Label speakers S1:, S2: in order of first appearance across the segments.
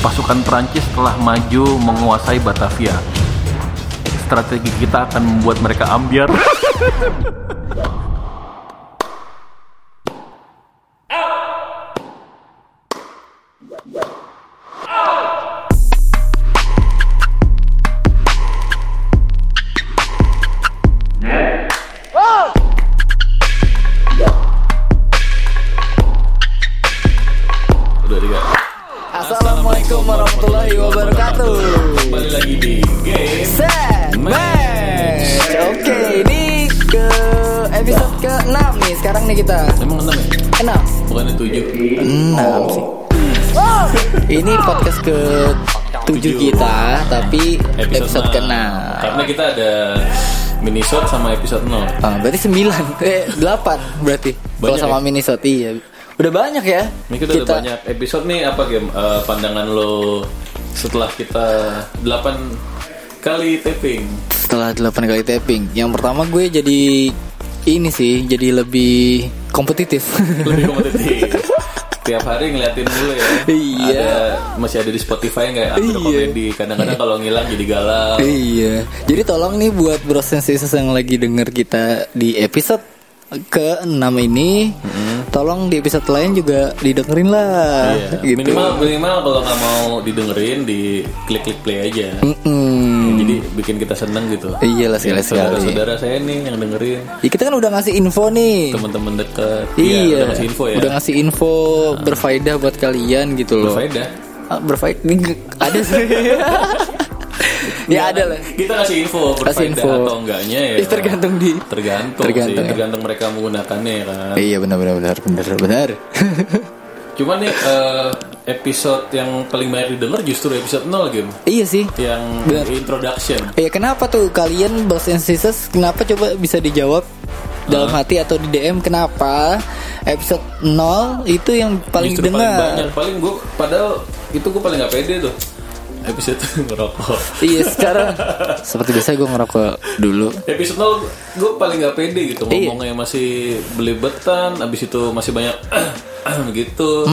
S1: Pasukan Perancis telah maju menguasai Batavia. Strategi kita akan membuat mereka ambiar. Udah tiga.
S2: Assalamualaikum warahmatullahi wabarakatuh.
S1: Kembali lagi di game.
S2: Set match. Oke, ini ke episode ke-6 nih. Sekarang nih kita.
S1: Emang enam ya?
S2: 6.
S1: Bukannya tujuh?
S2: 6 sih. Ini podcast ke 7 kita, tapi episode ke-6.
S1: Karena kita ada minisode sama episode 0
S2: Ah, berarti 9 eh 8 berarti. Kalau
S1: Banyak
S2: sama
S1: ya?
S2: Minnesota iya. Udah banyak ya.
S1: Ini kita, udah banyak episode nih apa game Eh, pandangan lo setelah kita 8 kali taping.
S2: Setelah 8 kali tapping, yang pertama gue jadi ini sih, jadi lebih kompetitif.
S1: Lebih kompetitif. Tiap hari ngeliatin dulu ya.
S2: Iya.
S1: Ada masih ada di Spotify nggak ada
S2: Iya.
S1: komedi. Kadang-kadang kalau ngilang jadi galau.
S2: Iya. Jadi tolong nih buat bro sensisus yang lagi denger kita di episode ke-6 ini, tolong di episode lain juga didengerin lah.
S1: Iya.
S2: Gitu.
S1: Minimal minimal kalau nggak mau didengerin di klik-klik play aja.
S2: Mm-mm. Iya
S1: Jadi bikin kita seneng gitu.
S2: Iyalah, sekali-sekali.
S1: Saudara-saudara saya nih yang dengerin,
S2: Ya, kita kan udah ngasih info nih.
S1: teman-teman dekat.
S2: iya.
S1: udah ngasih info ya. Nah.
S2: Udah ngasih info berfaedah buat kalian gitu loh.
S1: Berfaedah.
S2: Ah, berfaedah. Ini nge- ada sih. ya ada lah.
S1: Iya. Kita kasih info berfaedah
S2: info.
S1: atau enggaknya ya.
S2: Ih, tergantung di-
S1: tergantung,
S2: tergantung
S1: sih,
S2: ya.
S1: tergantung mereka menggunakannya ya kan.
S2: Iya benar benar benar benar benar.
S1: Cuman nih eh, episode yang paling banyak didengar justru episode 0 game
S2: iya sih.
S1: yang
S2: Benar.
S1: introduction.
S2: Ya kenapa tuh kalian Bros and Sisters kenapa coba bisa dijawab dalam
S1: Ah.
S2: hati atau di DM kenapa episode 0 itu yang paling
S1: justru paling banyak
S2: dengar.
S1: paling gue padahal itu gue paling gak pede tuh episode ngerokok.
S2: Iya sekarang seperti biasa gue ngerokok dulu.
S1: Episode 0 gue paling gak pede gitu
S2: Iya.
S1: ngomongnya masih belibetan, abis itu masih banyak gitu,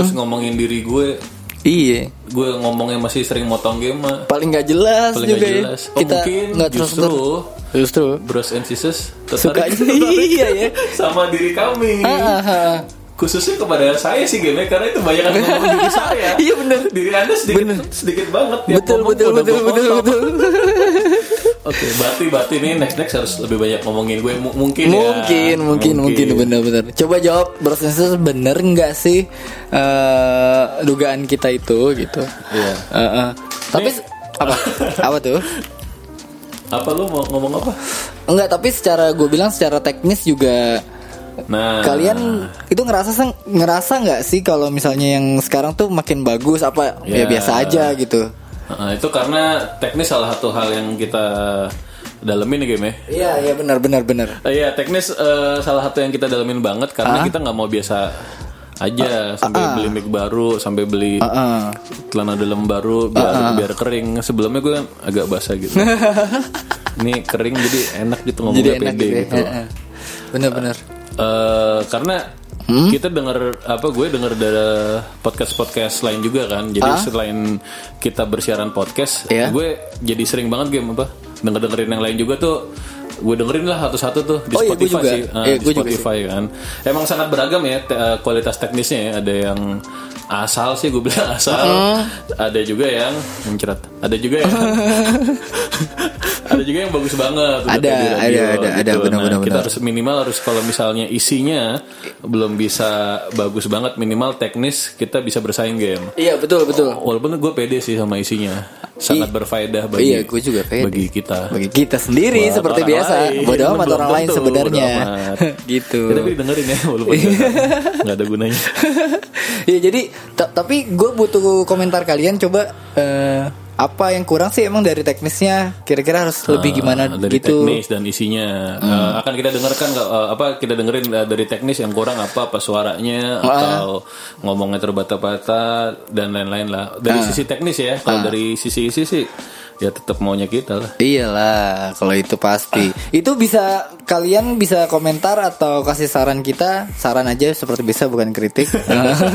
S1: terus ngomongin diri gue,
S2: Iya
S1: gue ngomongnya masih sering motong game mah.
S2: paling nggak jelas
S1: paling
S2: juga
S1: gak
S2: ya.
S1: jelas. Oh,
S2: Kita
S1: mungkin
S2: nggak terus
S1: justru
S2: justru
S1: Bros and Sisters
S2: suka
S1: tertarik
S2: iya ya.
S1: sama diri kami.
S2: Ah, ah, ah.
S1: Khususnya kepada saya sih game karena itu banyak yang ngomong diri saya.
S2: Iya, bener.
S1: Diri Anda sedikit
S2: Bener.
S1: sedikit banget Tiap
S2: Betul
S1: ngomong
S2: betul
S1: udah
S2: betul
S1: gua
S2: betul
S1: potong.
S2: betul.
S1: Oke, berarti berarti nih next next harus lebih banyak ngomongin gue Mu- mungkin ya.
S2: Mungkin, mungkin, mungkin, benar-benar. Coba jawab bersensus bener nggak sih eh, dugaan kita itu gitu.
S1: Iya.
S2: Eh, eh. Tapi
S1: Nih.
S2: apa? apa tuh?
S1: Apa lu mau ngomong apa?
S2: Enggak, tapi secara gue bilang secara teknis juga
S1: Nah,
S2: kalian itu ngerasa seng- ngerasa nggak sih kalau misalnya yang sekarang tuh makin bagus apa ya
S1: Ya.
S2: biasa aja gitu.
S1: Nah, itu karena teknis salah satu hal yang kita dalemin nih game ya.
S2: Iya, iya benar benar benar.
S1: Eh, Iya teknis eh, salah satu yang kita dalemin banget karena kita nggak mau biasa
S2: Ah,
S1: aja sampai beli mic baru sampai beli
S2: Heeh.
S1: celana dalam baru biar
S2: Ah,
S1: biar kering sebelumnya gue kan agak basah gitu ini kering jadi enak gitu
S2: Jadi
S1: ngomongnya
S2: enak
S1: pede
S2: gitu.
S1: gitu
S2: Benar-benar.
S1: Eh, karena
S2: Hmm?
S1: kita denger apa gue denger dari podcast podcast lain juga kan jadi selain kita bersiaran podcast
S2: Ah? Iya.
S1: gue jadi sering banget game apa denger dengerin yang lain juga tuh gue dengerin lah satu-satu tuh di
S2: Oh iya, gue
S1: Spotify
S2: juga.
S1: sih Ah,
S2: Iya,
S1: di
S2: gue juga
S1: Spotify kan emang sangat beragam ya te- eh, kualitas teknisnya ya ada yang asal sih gue bilang asal
S2: Hmm.
S1: ada juga yang mencerat ada juga yang ada juga yang bagus banget udah
S2: Ada,
S1: kayak di
S2: ada, ada, ada,
S1: Nah,
S2: benar-benar,
S1: kita
S2: benar.
S1: harus minimal harus kalau misalnya isinya belum bisa bagus banget minimal teknis kita bisa bersaing game
S2: Iya, betul betul.
S1: walaupun gue pede sih sama isinya sangat berfaedah bagi
S2: Iya, gue juga pede.
S1: bagi kita
S2: bagi kita sendiri
S1: Buat
S2: seperti
S1: orang
S2: biasa
S1: lain. Iya,
S2: bodoh amat
S1: Belum
S2: orang lain
S1: tentu,
S2: sebenarnya
S1: bodo amat.
S2: gitu
S1: Ya, tapi dengerin ya walaupun nggak- nggak ada gunanya
S2: ya jadi ta- tapi gue butuh komentar kalian coba eh, apa yang kurang sih emang dari teknisnya kira-kira harus lebih gimana
S1: Nah, dari
S2: gitu
S1: teknis dan isinya Eh, akan kita dengarkan nggak, eh, apa kita dengerin eh, dari teknis yang kurang apa apa suaranya atau Ah. ngomongnya terbata-bata dan lain-lain lah dari sisi teknis ya kalau dari sisi isi sih ya tetap maunya kita lah.
S2: Iyalah, kalau itu pasti. Itu bisa kalian bisa komentar atau kasih saran kita, saran aja seperti biasa bukan kritik.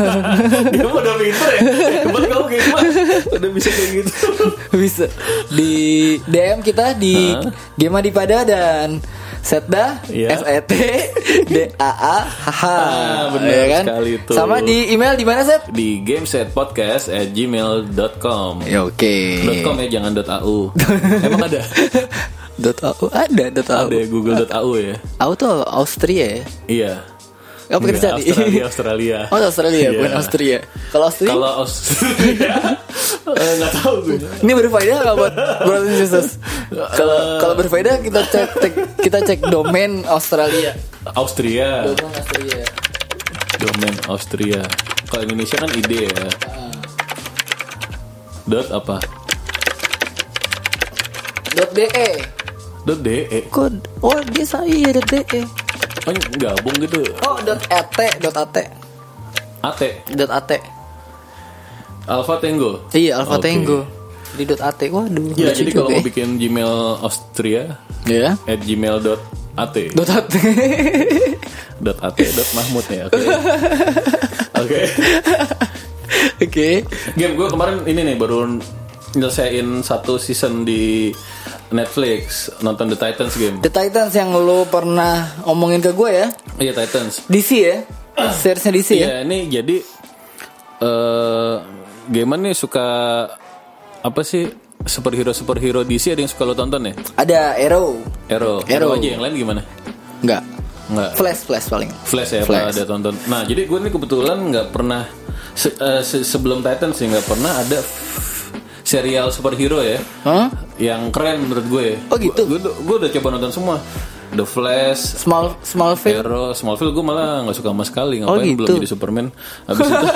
S1: Dia mah udah pinter ya. Hebat kamu kayak gimana? Udah bisa kayak gitu.
S2: bisa di DM kita di Gema Dipada dan Setda
S1: Iya.
S2: S E T D A A H Iya kan?
S1: Ah, benar sekali itu.
S2: Sama di email di mana Set?
S1: Di gamesetpodcast at gmail.com.
S2: Ya oke.
S1: .com ya jangan .au. Emang ada?
S2: Dot .au ada dot .au.
S1: Ada ya, google.au ya.
S2: Au tuh Austria ya.
S1: Iya.
S2: Oh, pakai
S1: Enggak,
S2: cari.
S1: Iya, Australia, Australia.
S2: Oh Australia,
S1: Iya.
S2: bukan Austria. Kalau Austria
S1: Kalau Australia eh, nggak tahu gue.
S2: Ini berfaedah nggak buat brothers and sisters? Kalau kalau berfaedah kita cek, cek- kita cek domain Australia.
S1: Austria,
S2: Domain Australia.
S1: domain Austria. Kalau Indonesia kan ide ya.
S2: Ah.
S1: Dot apa?
S2: .de.
S1: Dot E. de.
S2: Kok oh dia saya iya dot .de.
S1: Oh, gabung gitu.
S2: Oh dot .at dot .at
S1: AT.
S2: dot .at.
S1: Alpha Tango.
S2: Iya Alpha
S1: Oke.
S2: Tango. Di dot .at. Waduh.
S1: Ya,
S2: lucu
S1: jadi
S2: juga
S1: kalau mau
S2: ya.
S1: bikin Gmail Austria
S2: ya.
S1: at gmail.at
S2: Dot .at.
S1: dot at dot mahmud ya oke oke
S2: Oke.
S1: game gue kemarin ini nih baru nyelesain satu season di Netflix nonton The Titans game
S2: The Titans yang lu pernah omongin ke gue ya.
S1: iya Titans
S2: DC ya. Seriesnya DC ya.
S1: Iya, ini jadi eh Gaiman nih suka apa sih superhero superhero DC ada yang suka lo tonton ya?
S2: Ada Arrow.
S1: Arrow.
S2: Arrow.
S1: aja yang lain gimana?
S2: Enggak.
S1: Enggak.
S2: Flash Flash paling.
S1: Flash ya Pak,
S2: Flash.
S1: ada tonton. Nah, jadi gue ini kebetulan nggak pernah se- eh, se- sebelum Titan sih nggak pernah ada f- serial superhero ya
S2: Hah?
S1: yang keren menurut gue. ya.
S2: Oh, gitu?
S1: Gue gue udah coba nonton semua. The Flash,
S2: Small Smallville.
S1: Arrow, Smallville gue malah nggak suka sama sekali ngapain
S2: gitu.
S1: belum jadi Superman. Habis itu kan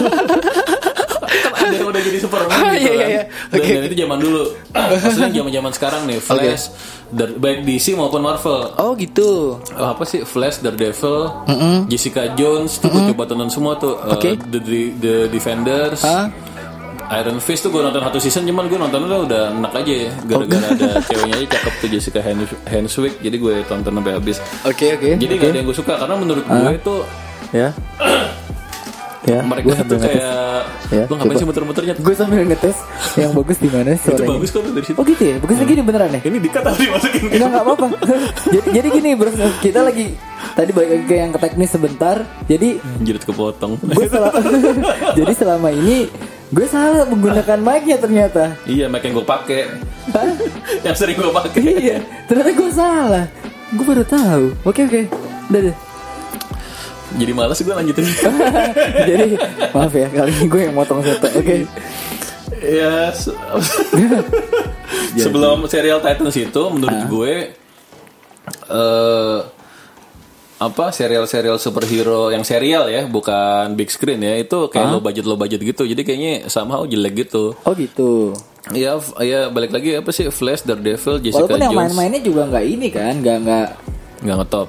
S1: ada yang udah jadi Superman gitu
S2: Ah, iya, iya,
S1: kan.
S2: iya.
S1: Dan,
S2: Oke,
S1: dan itu zaman dulu. Maksudnya zaman-zaman sekarang nih Flash, dari- baik DC maupun Marvel
S2: Oh gitu.
S1: Oh, apa sih Flash, Daredevil, Jessica Jones tuh gue coba tonton semua tuh Uh,
S2: Oke.
S1: The, The- The Defenders,
S2: Hah?
S1: Iron Fist tuh gue nonton satu season cuman gue nonton udah udah enak aja ya gara-gara ada ceweknya aja cakep tuh Jessica Hens- Henswick jadi gue tonton sampai habis.
S2: Oke oke.
S1: Jadi nggak ada yang gue suka karena menurut gue tuh
S2: ya. ya.
S1: mereka tuh kayak
S2: Ya,
S1: lu ngapain
S2: coba.
S1: sih muter-muternya?
S2: Gue sambil ngetes yang bagus di mana
S1: Itu
S2: suaranya.
S1: bagus Hmm. kok tuh dari situ.
S2: Oh gitu ya. Bagusnya gini beneran ya.
S1: Ini dikat tapi masukin
S2: Enggak enggak apa-apa. jadi, jadi gini bro, kita lagi tadi balik lagi ke yang ke teknis sebentar. Jadi
S1: Jerit kepotong.
S2: gue selama jadi selama ini gue salah menggunakan mic-nya ternyata.
S1: iya, mic yang gue pakai.
S2: Hah?
S1: yang sering gue pakai.
S2: iya, ternyata gue salah. Gue baru tahu. Oke oke. Udah deh.
S1: Jadi males gue lanjutin.
S2: jadi maaf ya kali ini gue yang motong satu. Oke.
S1: Ya, se- sebelum serial Titans itu menurut
S2: Ah.
S1: gue eh apa serial-serial superhero yang serial ya, bukan big screen ya. Itu kayak
S2: Ah.
S1: low budget low budget gitu. Jadi kayaknya somehow jelek gitu.
S2: Oh gitu.
S1: Ya, f- ya balik lagi apa sih Flash, Daredevil, Jessica
S2: Walaupun
S1: Jones.
S2: yang main-mainnya juga nggak ini kan, nggak nggak
S1: nggak ngetop.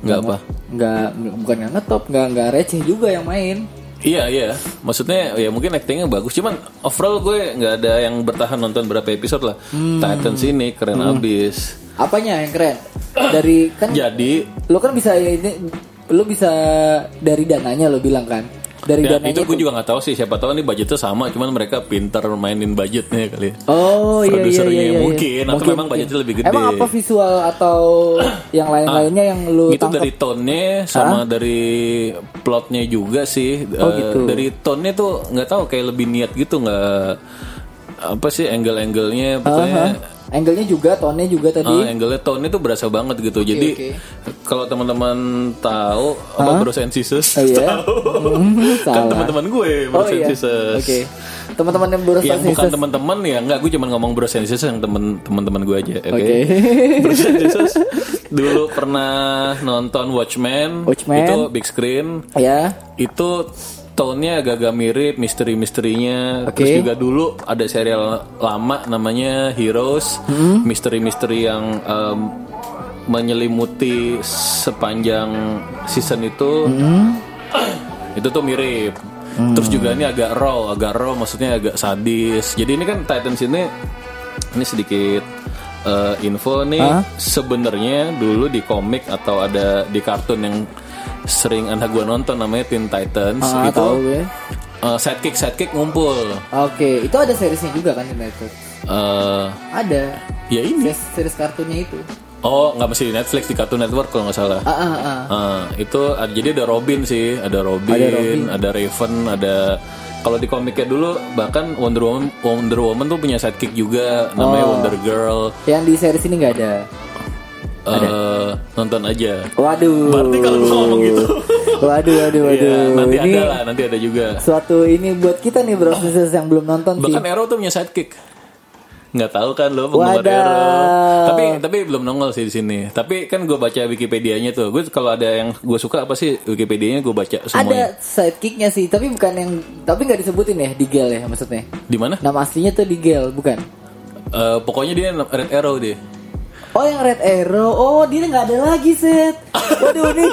S1: Nggak apa.
S2: nggak bukan nggak ngetop, nggak nggak receh juga yang main.
S1: Iya iya, maksudnya ya mungkin actingnya bagus, cuman overall gue nggak ada yang bertahan nonton berapa episode lah.
S2: Hmm.
S1: Titans ini keren abis.
S2: Apanya yang keren? Dari kan
S1: Jadi
S2: lo kan bisa ini, lo bisa dari dananya lo bilang kan? Dari
S1: Ya,
S2: dananya.
S1: itu gue
S2: tuh-
S1: juga nggak tahu sih siapa tahu ini budgetnya sama cuman mereka pintar mainin budgetnya kali ya.
S2: Oh iya iya
S1: Produsernya
S2: iya, iya.
S1: mungkin, atau memang budgetnya lebih gede. Ah,
S2: Emang apa visual atau yang lain-lainnya yang lo
S1: itu
S2: tangkap?
S1: dari tone-nya sama dari plotnya juga sih
S2: Oh,
S1: Eh,
S2: gitu.
S1: dari tone-nya tuh nggak tahu kayak lebih niat gitu nggak apa sih angle-angle-nya pokoknya
S2: Hah? Angle-nya juga, tone-nya juga tadi.
S1: Ah, angle-nya tone-nya tuh berasa banget gitu. Jadi
S2: oke.
S1: kalau teman-teman tahu apa Bros and Sisters
S2: Oh, iya?
S1: Ah, tahu.
S2: Hmm,
S1: kan
S2: salah.
S1: teman-teman gue Bros
S2: oh
S1: and
S2: iya.
S1: Sisters.
S2: Oke. Teman-teman yang baru
S1: yang bukan teman-teman ya enggak gue cuma ngomong Bros and Sisters yang temen teman-teman gue aja oke
S2: Oke.
S1: Bros and Sisters dulu pernah nonton Watchmen,
S2: Watchmen.
S1: itu big screen
S2: ya.
S1: itu tone-nya agak-agak mirip misteri-misterinya
S2: Oke.
S1: terus juga dulu ada serial lama namanya Heroes
S3: Hmm?
S1: misteri-misteri yang em, menyelimuti sepanjang season itu
S3: Hmm?
S1: itu tuh mirip terus juga ini agak raw agak raw maksudnya agak sadis jadi ini kan Titans ini Ini sedikit eh, info nih.
S3: Hah?
S1: Sebenarnya dulu di komik atau ada di kartun yang sering anak gua nonton namanya Teen Titans
S3: Ah,
S1: itu
S3: tahu gue.
S1: eh, sidekick sidekick ngumpul.
S2: Oke, itu ada seriesnya juga kan United?
S1: Eh,
S2: Ada.
S1: ya ini.
S2: Series, series kartunnya itu.
S1: Oh, nggak mesti di Netflix di Cartoon Network kalau nggak salah.
S2: Ah, ah, ah.
S1: Ah, itu ada, jadi ada Robin sih, ada Robin, ada,
S2: Ada Robin.
S1: Raven, ada kalau di komiknya dulu bahkan Wonder Woman, Wonder Woman tuh punya sidekick juga namanya
S2: Oh.
S1: Wonder Girl.
S2: Yang di series ini nggak ada.
S1: Eh, nonton aja.
S2: Waduh.
S1: Berarti kalau gua ngomong gitu.
S2: Waduh, waduh, waduh.
S1: Iya, nanti
S2: ini
S1: ada lah, nanti ada juga.
S2: suatu ini buat kita nih bro Sisters yang belum nonton sih.
S1: Bahkan Arrow tuh punya sidekick. Nggak tahu kan lo penggemar
S2: Wadaw.
S1: Arrow. Tapi tapi belum nongol sih di sini. Tapi kan gue baca Wikipedianya tuh. Gue kalau ada yang gue suka apa sih Wikipedianya gue baca semuanya.
S2: Ada sidekicknya sih, tapi bukan yang tapi nggak disebutin ya Digel ya maksudnya.
S1: Di mana?
S2: Nama aslinya tuh Digel, bukan?
S1: Eh, pokoknya dia Red Arrow deh.
S2: Oh yang Red Arrow, oh dia nggak ada lagi set. Waduh ini,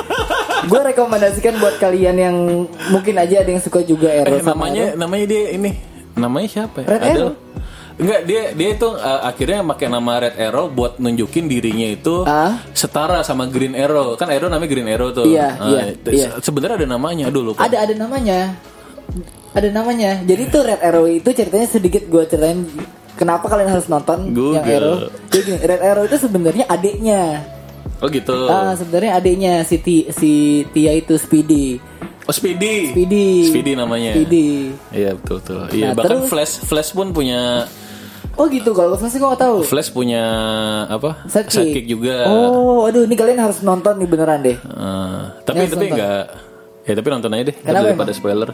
S2: gue rekomendasikan buat kalian yang mungkin aja ada yang suka juga
S1: Eh,
S2: Arrow sama
S1: namanya
S2: Arrow.
S1: namanya dia ini namanya siapa ya?
S2: Red
S1: Ada-
S2: Arrow.
S1: Enggak dia dia itu uh, akhirnya pakai nama Red Arrow buat nunjukin dirinya itu
S2: Ah.
S1: setara sama Green Arrow kan Arrow namanya Green Arrow tuh.
S2: Iya,
S1: Ah,
S2: iya,
S1: itu-
S2: iya. Ah.
S1: se- Sebenarnya ada namanya dulu.
S2: ada ada namanya, ada namanya. Jadi tuh Red Arrow itu ceritanya sedikit gue ceritain kenapa kalian harus nonton
S1: Google.
S2: yang Arrow. Jadi gini, Red Arrow itu sebenarnya adiknya,
S1: Oh gitu.
S2: ah sebenarnya adiknya si Ti- si Tia itu Speedy,
S1: oh Speedy.
S2: Speedy,
S1: Speedy namanya.
S2: Speedy.
S1: Iya betul betul. Iya
S2: Nah,
S1: bahkan
S2: terus-
S1: Flash Flash pun punya
S2: Oh gitu, kalau gue sih gue gak tahu.
S1: Flash punya apa?
S2: Sidekick.
S1: juga.
S2: Oh, aduh, ini kalian harus nonton nih beneran deh.
S1: Eh, tapi
S2: Nggak,
S1: tapi
S2: nonton.
S1: enggak ya tapi nonton aja deh
S2: Kenapa
S1: daripada spoiler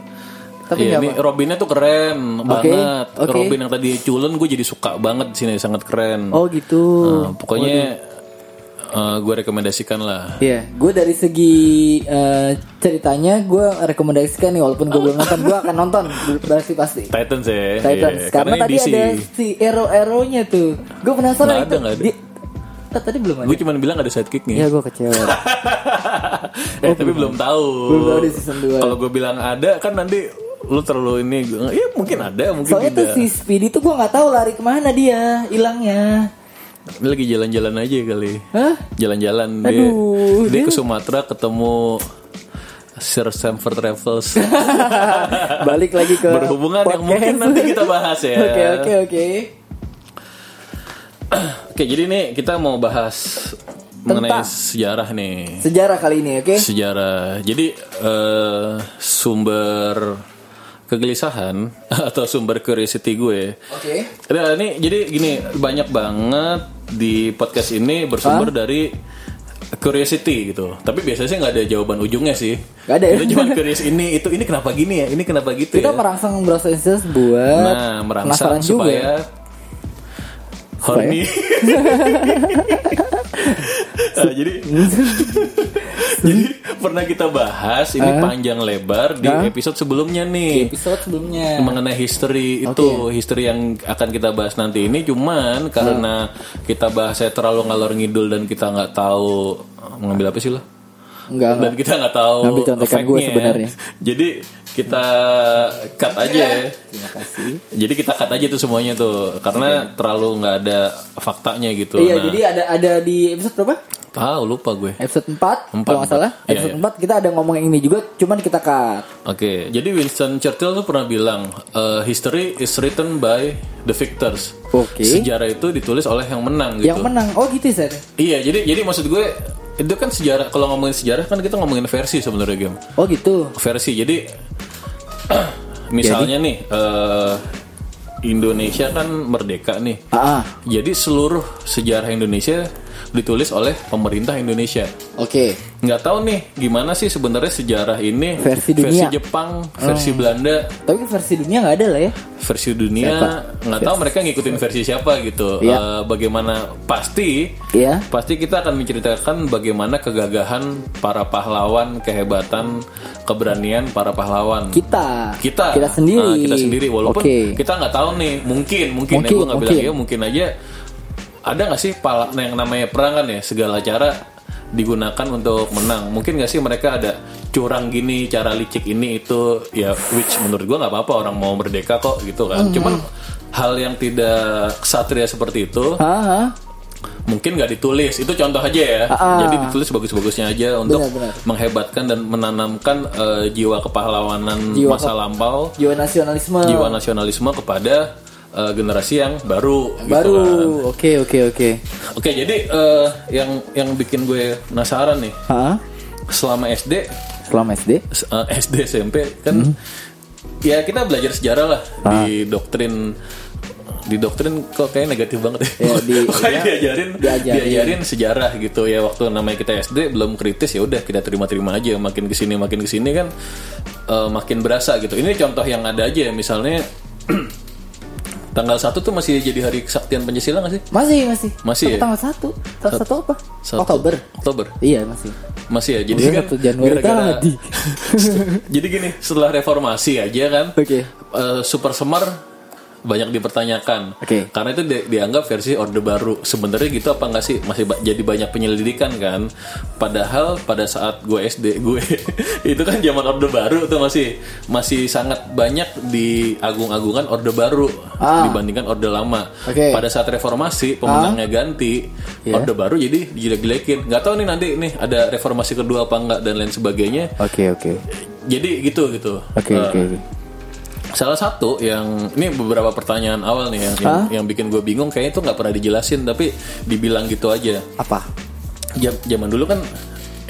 S2: Tapi
S1: Iya,
S2: nggak
S1: ini Robinnya tuh keren
S2: Oke,
S1: banget.
S2: oke.
S1: Robin yang tadi culun gue jadi suka banget di sini sangat keren.
S2: Oh iya. gitu.
S1: Eh, pokoknya gue rekomendasikan lah.
S2: Iya, gue dari segi eh, ceritanya gue rekomendasikan nih walaupun gue belum nonton, gue akan nonton pasti pasti.
S1: Titans ya.
S2: Titans.
S1: iya.
S2: Karena,
S1: ini
S2: tadi
S1: DC.
S2: ada si arrow arrownya tuh. Gue penasaran
S1: Nggak ada,
S2: itu.
S1: nggak ada.
S2: Di- Eh, tadi belum ada.
S1: Gue cuma bilang ada sidekicknya.
S2: Ya gue kecewa.
S1: Eh, tapi belum tahu.
S2: Oh, Belum tahu di season dua.
S1: Kalau gue bilang ada kan nanti lu terlalu ini. Gua, Iya mungkin ada mungkin gitu ya.
S2: Soalnya tuh
S1: tidak.
S2: si Speedy tuh gue nggak tahu lari kemana dia, hilangnya.
S1: Ini lagi jalan-jalan aja kali.
S2: Hah?
S1: Jalan-jalan dia,
S2: Aduh,
S1: dia
S2: dia-
S1: ke Sumatera ketemu Sir Samford Travels.
S2: Balik lagi ke
S1: Berhubungan yang
S2: podcast.
S1: mungkin nanti kita bahas ya.
S2: Oke oke oke.
S1: Oke, jadi nih kita mau bahas mengenai sejarah nih.
S2: Sejarah kali ini, oke?
S1: Sejarah. Jadi eh, sumber kegelisahan atau sumber curiosity gue.
S2: Oke.
S1: Nah, ini jadi gini banyak banget di podcast ini bersumber dari curiosity gitu. Tapi biasanya sih nggak ada jawaban ujungnya sih.
S2: Nggak ada ya?
S1: Itu cuma curious ini itu ini kenapa gini ya? Ini kenapa gitu ya?
S2: Kita merangsang browser instance buat
S1: Nah, merangsang
S2: penasaran juga. ya?
S1: supaya horny. Nah, jadi jadi pernah kita bahas ini panjang lebar di episode sebelumnya
S2: Di
S1: nih
S2: episode sebelumnya.
S1: mengenai history itu history yang akan kita bahas nanti ini cuman karena kita bahasnya terlalu ngalor ngidul dan kita nggak tahu mengambil apa sih lo
S2: Enggak, enggak.
S1: dan kita nggak tahu
S2: Ngambil contekan gue
S1: efeknya.
S2: sebenarnya.
S1: jadi kita cut aja ya.
S2: Terima kasih.
S1: jadi kita cut aja tuh semuanya tuh karena terlalu nggak ada faktanya gitu
S2: Iya,
S1: Nah,
S2: jadi ada ada di episode berapa?
S1: tahu lupa gue
S2: Episode 4,
S1: Empat,
S2: kalau nggak salah.
S1: empat. Iya,
S2: episode
S1: iya.
S2: 4 kita ada ngomong yang ini juga, cuman kita cut.
S1: Oke, jadi Winston Churchill tuh pernah bilang, "Eh, history is written by the victors.
S2: Oke.
S1: Sejarah itu ditulis oleh yang menang gitu.
S2: Yang menang. Oh, gitu Seth.
S1: Iya, jadi jadi maksud gue itu kan sejarah. Kalau ngomongin sejarah kan kita ngomongin versi sebenarnya game.
S2: Oh, gitu.
S1: Versi. Jadi misalnya nih eh, Indonesia kan merdeka nih.
S2: Ah, ah.
S1: Jadi seluruh sejarah Indonesia ditulis oleh pemerintah Indonesia.
S2: Oke.
S1: Nggak tahu nih gimana sih sebenarnya sejarah ini
S2: Versi dunia. Oh.
S1: Jepang, versi Belanda,
S2: Tapi versi dunia nggak ada lah ya.
S1: versi dunia. Nggak tahu mereka ngikutin versi siapa gitu.
S2: Iya.
S1: Eh, bagaimana pasti
S2: Iya.
S1: Pasti kita akan menceritakan bagaimana kegagahan para pahlawan, kehebatan, keberanian para pahlawan.
S2: Kita.
S1: kita,
S2: Kita
S1: Nah,
S2: sendiri.
S1: kita sendiri. Walaupun
S2: Oke.
S1: kita nggak tahu nih, mungkin, mungkin, ya,
S2: Mungkin,
S1: gue nggak bilang
S2: mungkin.
S1: ya, mungkin aja ada nggak sih pala, yang namanya perang kan ya segala cara digunakan untuk menang. Mungkin nggak sih mereka ada curang gini,
S2: Mm-hmm.
S1: cara licik ini itu ya, which menurut gue nggak apa-apa orang mau merdeka kok gitu kan. Cuman hal yang tidak satria seperti itu
S2: Hah? hah?
S1: mungkin nggak ditulis itu contoh aja ya
S2: Ah.
S1: jadi ditulis bagus-bagusnya aja untuk
S2: Benar, benar.
S1: menghebatkan dan menanamkan eh, jiwa kepahlawanan
S2: Jiwa
S1: masa
S2: ke- Ah.
S1: lampau
S2: Jiwa nasionalisme.
S1: jiwa nasionalisme kepada eh, generasi yang baru gitu
S2: Baru.
S1: kan.
S2: Oke oke oke.
S1: Oke, jadi eh, yang yang bikin gue penasaran nih,
S2: Hah?
S1: selama SD,
S2: Selama SD.
S1: s- eh, SD SMP
S2: Hmm.
S1: kan, ya kita belajar sejarah lah
S2: Ah.
S1: di doktrin, di doktrin kok kayak negatif banget ya.
S2: Ya, di-
S1: Pokoknya
S2: ya,
S1: diajarin, diajarin,
S2: diajarin.
S1: sejarah gitu ya waktu namanya kita SD belum kritis ya udah kita terima-terima aja. Makin kesini makin kesini kan eh, makin berasa gitu. Ini contoh yang ada aja misalnya. tanggal 1 tuh masih jadi hari kesaktian Pancasila gak sih?
S2: Masih masih.
S1: Masih
S2: Sampai
S1: ya?
S2: Tanggal satu. Tanggal satu apa?
S1: Satu-
S2: Oktober.
S1: Oktober.
S2: Iya masih.
S1: Masih ya, jadi
S2: Mungkin
S1: kan
S2: satu Januari
S1: gara-gara-
S2: tadi.
S1: jadi gini, setelah reformasi aja kan,
S2: Oke.
S1: eh, Super Semar banyak dipertanyakan.
S2: Oke.
S1: Karena itu di- dianggap versi Orde Baru. Sebenarnya gitu apa enggak sih? Masih ba- jadi banyak penyelidikan kan. Padahal pada saat gue SD gue itu kan zaman Orde Baru tuh masih masih sangat banyak diagung-agungan Orde Baru
S2: Ah.
S1: dibandingkan Orde Lama.
S2: Oke. Ah. Iya.
S1: Pada saat reformasi pemenangnya ganti, Orde Baru jadi dijelek-jelekin. Nggak tahu nih nanti nih ada reformasi kedua apa enggak dan lain sebagainya.
S2: Oke oke.
S1: Jadi gitu gitu.
S2: Oke
S1: Eh,
S2: oke. oke.
S1: Salah satu yang ini beberapa pertanyaan awal nih yang yang, yang bikin gue bingung kayaknya itu nggak pernah dijelasin tapi dibilang gitu aja.
S2: Apa?
S1: Jam- Zaman dulu kan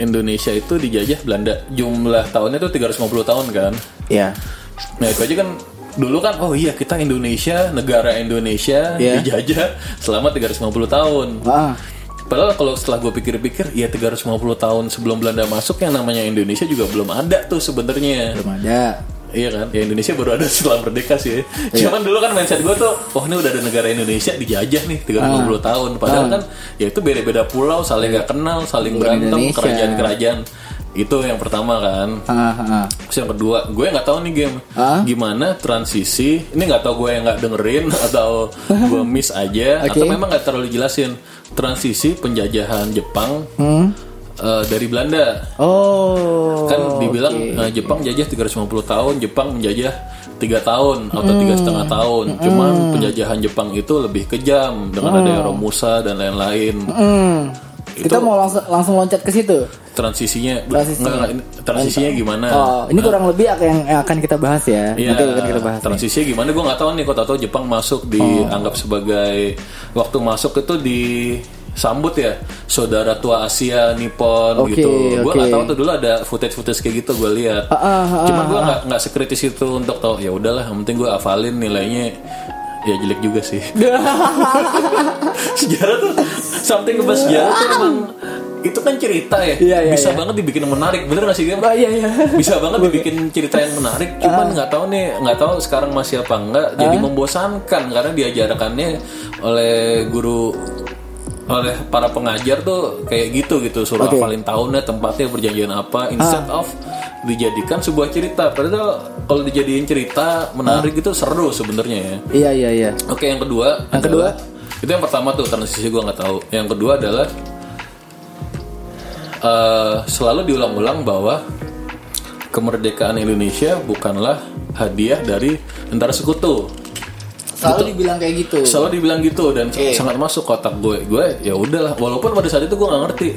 S1: Indonesia itu dijajah Belanda. Jumlah tahunnya itu 350 tahun kan.
S2: Ya.
S1: Nah itu aja kan dulu kan oh iya kita Indonesia negara Indonesia
S2: Iya.
S1: dijajah selama 350 tahun.
S2: Ah.
S1: Padahal kalau setelah gue pikir-pikir ya 350 tahun sebelum Belanda masuk yang namanya Indonesia juga belum ada tuh sebenarnya.
S2: Belum ada.
S1: Iya kan, ya Indonesia baru ada setelah merdeka sih. ya.
S2: Iya.
S1: Cuman dulu kan mindset gue tuh, oh ini udah ada negara Indonesia dijajah nih 350
S2: Ah.
S1: tahun. Padahal kan, ya itu beda-beda pulau, saling nggak kenal, saling
S2: Bukan
S1: berantem,
S2: Iya, Indonesia.
S1: kerajaan-kerajaan. Itu yang pertama kan.
S2: Ah, ah, ah.
S1: Terus yang kedua, gue nggak tahu nih game
S2: Ah.
S1: gimana transisi. Ini nggak tahu gue yang nggak dengerin atau gue miss aja atau
S2: Oke.
S1: memang nggak terlalu jelasin transisi penjajahan Jepang
S2: Hmm.
S1: eh, dari Belanda
S2: Oh.
S1: kan dibilang eh, Jepang jajah 350 tahun, Jepang menjajah tiga tahun atau tiga setengah
S2: Hmm.
S1: tahun. Cuman penjajahan Jepang itu lebih kejam dengan adanya Romusa dan lain-lain.
S2: Hmm.
S1: Itu-
S2: Kita mau langsung langsung loncat ke situ.
S1: Transisinya,
S2: Transisi.
S1: nggak, nggak, ini- transisinya gimana?
S2: Oh, ini kurang lebih ak- yang yang akan kita bahas ya.
S1: Iya,
S2: Nanti akan kita bahas. nih. Oh.
S1: transisinya gimana? Gue nggak tahu nih. Kok tahu Jepang masuk dianggap sebagai waktu masuk itu disambut ya saudara tua Asia Nippon
S2: Oke,
S1: gitu. Gue nggak
S2: oke.
S1: tahu tuh dulu ada footage-footage kayak gitu gue lihat.
S2: ah, ah,
S1: Cuman gue nggak nggak sekritis itu untuk tahu. Ya udahlah, yang penting gue hafalin nilainya. Ya jelek juga sih.
S2: ya.
S1: sejarah tuh something about sejarah tuh emang itu kan cerita ya.
S2: Ah. Iya, iya,
S1: Bisa
S2: iya.
S1: banget dibikin menarik, bener gak sih? Gem?
S2: Oh, iya iya.
S1: bisa banget dibikin cerita yang menarik cuman nggak tahu nih nggak tahu sekarang masih apa enggak jadi membosankan karena diajarkannya oleh guru oleh para pengajar tuh kayak gitu gitu suruh
S2: Oke.
S1: hafalin tahunnya tempatnya perjanjian apa instead of dijadikan sebuah cerita padahal kalau dijadiin cerita menarik itu seru sebenarnya ya
S2: Iya iya iya.
S1: Oke yang kedua
S2: Yang
S1: adalah- itu yang pertama tuh transisi gue nggak tahu. Yang kedua adalah eh, selalu diulang-ulang bahwa kemerdekaan Indonesia bukanlah hadiah dari antara sekutu.
S2: Selalu dibilang kayak gitu.
S1: Selalu dibilang gitu dan sangat masuk kotak gue. Gue ya udahlah. Walaupun pada saat itu gue nggak ngerti.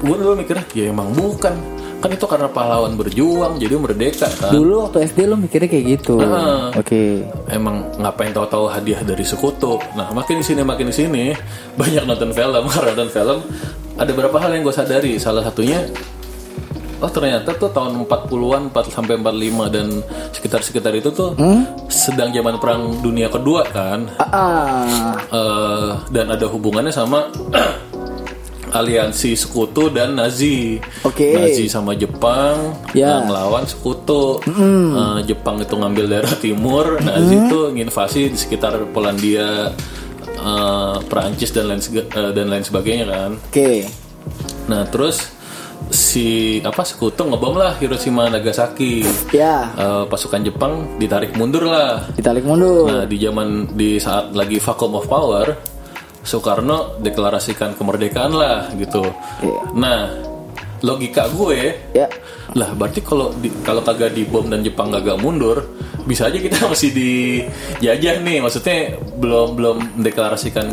S1: Gue dulu mikirnya ya emang bukan. Kan itu karena pahlawan berjuang jadi merdeka kan.
S2: Dulu waktu SD lo mikirnya kayak gitu.
S1: Ah.
S2: Oke.
S1: emang ngapain tahu-tahu hadiah dari sekutu. Nah, makin di sini makin di sini banyak nonton film, karena nonton film ada beberapa hal yang gue sadari. Salah satunya oh ternyata tuh tahun 40-an 4 sampai 45 dan sekitar-sekitar itu tuh sedang zaman perang dunia kedua kan.
S2: Ah, ah.
S1: Eh, dan ada hubungannya sama aliansi sekutu dan Nazi.
S2: Oke.
S1: Nazi sama Jepang
S2: Ya.
S1: yang ngelawan sekutu. Eh, Jepang itu ngambil daerah timur, Nazi itu nginvasi di sekitar Polandia, eh, Perancis dan lain sega- eh, dan lain sebagainya kan.
S2: Oke.
S1: Nah, terus si apa sekutu ngebom lah Hiroshima Nagasaki.
S2: Ya.
S1: Eh, pasukan Jepang ditarik mundur lah.
S2: Kita tarik mundur.
S1: Nah, di zaman di saat lagi vacuum of power, Soekarno deklarasikan kemerdekaan lah gitu.
S2: Iya.
S1: Nah, logika gue
S2: Ya.
S1: lah berarti kalau di, kalau kagak dibom dan Jepang kagak mundur, bisa aja kita masih dijajah nih maksudnya belum belum mendeklarasikan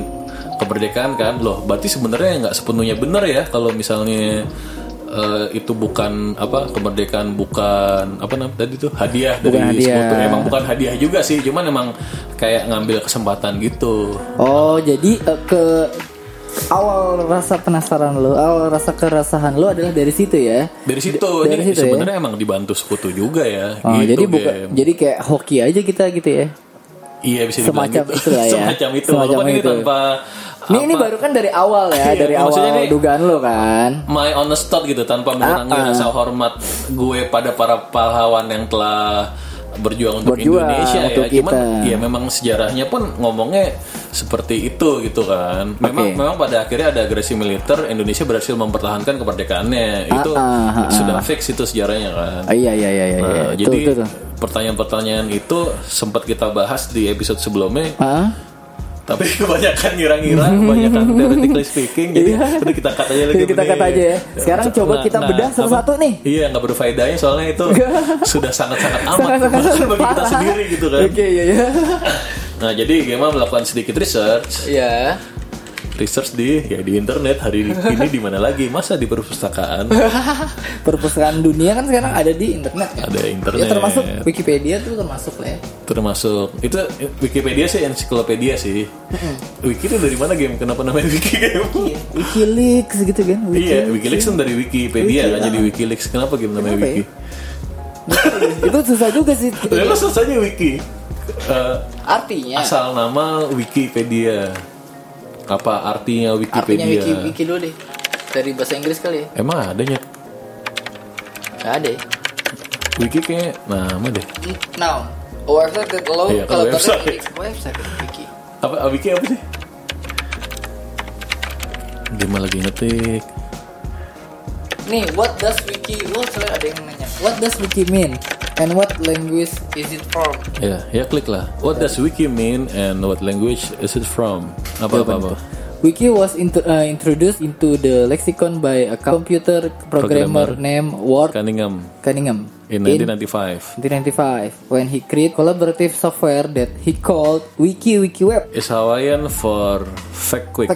S1: kemerdekaan kan loh berarti sebenarnya nggak sepenuhnya benar ya kalau misalnya eh, itu bukan apa kemerdekaan bukan apa namanya tadi tuh hadiah
S2: Bukan
S1: dari
S2: hadiah.
S1: sekutu. emang bukan hadiah juga sih cuman emang kayak ngambil kesempatan gitu
S2: Oh, jadi eh, ke awal rasa penasaran lo, awal rasa kerasahan lo adalah dari situ ya.
S1: dari situ
S2: Dari
S1: ini
S2: situ ya?
S1: sebenarnya emang dibantu sekutu juga ya
S2: Oh,
S1: gitu
S2: jadi bukan
S1: Gem.
S2: jadi kayak hoki aja kita gitu ya.
S1: Iya bisa dibilang
S2: Semacam
S1: gitu.
S2: itulah ya.
S1: Semacam itu.
S2: Semacam
S1: Walaupun ini
S2: itu.
S1: tanpa
S2: Ini ini
S1: apa,
S2: baru kan dari awal ya,
S1: Iya,
S2: dari awal
S1: maksudnya ini-
S2: dugaan lo kan.
S1: my honest thought gitu tanpa mengurangi
S2: Ah, ah.
S1: rasa hormat gue pada para pahlawan yang telah berjuang untuk
S2: Berjuang
S1: Indonesia
S2: untuk
S1: ya. Cuman
S2: kita.
S1: ya memang sejarahnya pun ngomongnya seperti itu gitu kan. Memang
S2: Oke.
S1: memang pada akhirnya ada agresi militer Indonesia berhasil mempertahankan keperdekaannya. Itu
S2: ah, ah,
S1: sudah fix itu sejarahnya kan.
S2: Ah, iya iya iya iya. iya.
S1: Nah,
S2: Tuh,
S1: jadi
S2: tuh, tuh.
S1: pertanyaan-pertanyaan itu sempat kita bahas di episode sebelumnya
S2: Hah?
S1: tapi kebanyakan ngira-ngira kebanyakan theoretically speaking jadi udah kita kata aja gitu. lagi
S2: Jadi
S1: benih.
S2: Iya. kita
S1: Iya,
S2: kata aja ya. Sekarang coba kita bedah
S1: apa-
S2: satu-satu nih.
S1: Nah, iya nggak berfaedahnya soalnya itu sudah sangat-sangat amat bahkan bagi kita
S2: Parah.
S1: sendiri gitu kan
S2: Oke, iya iya.
S1: nah jadi gimana melakukan sedikit research
S2: Iya.
S1: research di ya di internet hari ini di mana lagi masa di perpustakaan
S2: Perpustakaan dunia kan sekarang ada di internet kan?
S1: ada internet
S2: Ya termasuk Wikipedia tuh termasuk lah ya.
S1: termasuk itu Wikipedia sih ensiklopedia sih Wiki itu dari mana game kenapa namanya Wiki
S2: Iya.
S1: game
S2: Wikileaks gitu kan.
S1: Iya, Wikileaks kan dari Wikipedia
S2: Wiki,
S1: kan jadi Wikileaks. Kenapa game namanya
S2: Kenapa ya?
S1: Wiki? Iya.
S2: itu susah juga sih.
S1: Ya lo saja Wiki. Eh,
S2: Artinya
S1: asal nama Wikipedia. Apa artinya
S3: Artinya
S1: Wikipedia?
S3: wiki wiki dulu deh. Dari bahasa Inggris kali ya?
S1: Emang adanya
S3: Gak ada ya?
S1: Wiki kayak nama deh.
S3: Now,
S2: oh,
S3: website that lo
S1: Iya,
S3: kalau
S1: kan
S3: website.
S1: website.
S3: website wiki.
S1: Apa ah, Wiki apa sih? Dia lagi ngetik.
S3: Nih, what does wiki? Lo selalu ada yang nanya.
S2: what does wiki mean and what language
S3: Is it from?
S1: Ya, ya klik lah. What does Wiki mean and what language is it from? Apa apa apa.
S2: Wiki was into, uh, introduced into the lexicon by a computer
S1: Programmer.
S2: programmer, named Ward
S1: Cunningham
S2: Cunningham
S1: in 1995
S2: 1995 when he created collaborative software that he called Wiki Wiki Web.
S1: is Hawaiian for fact quick.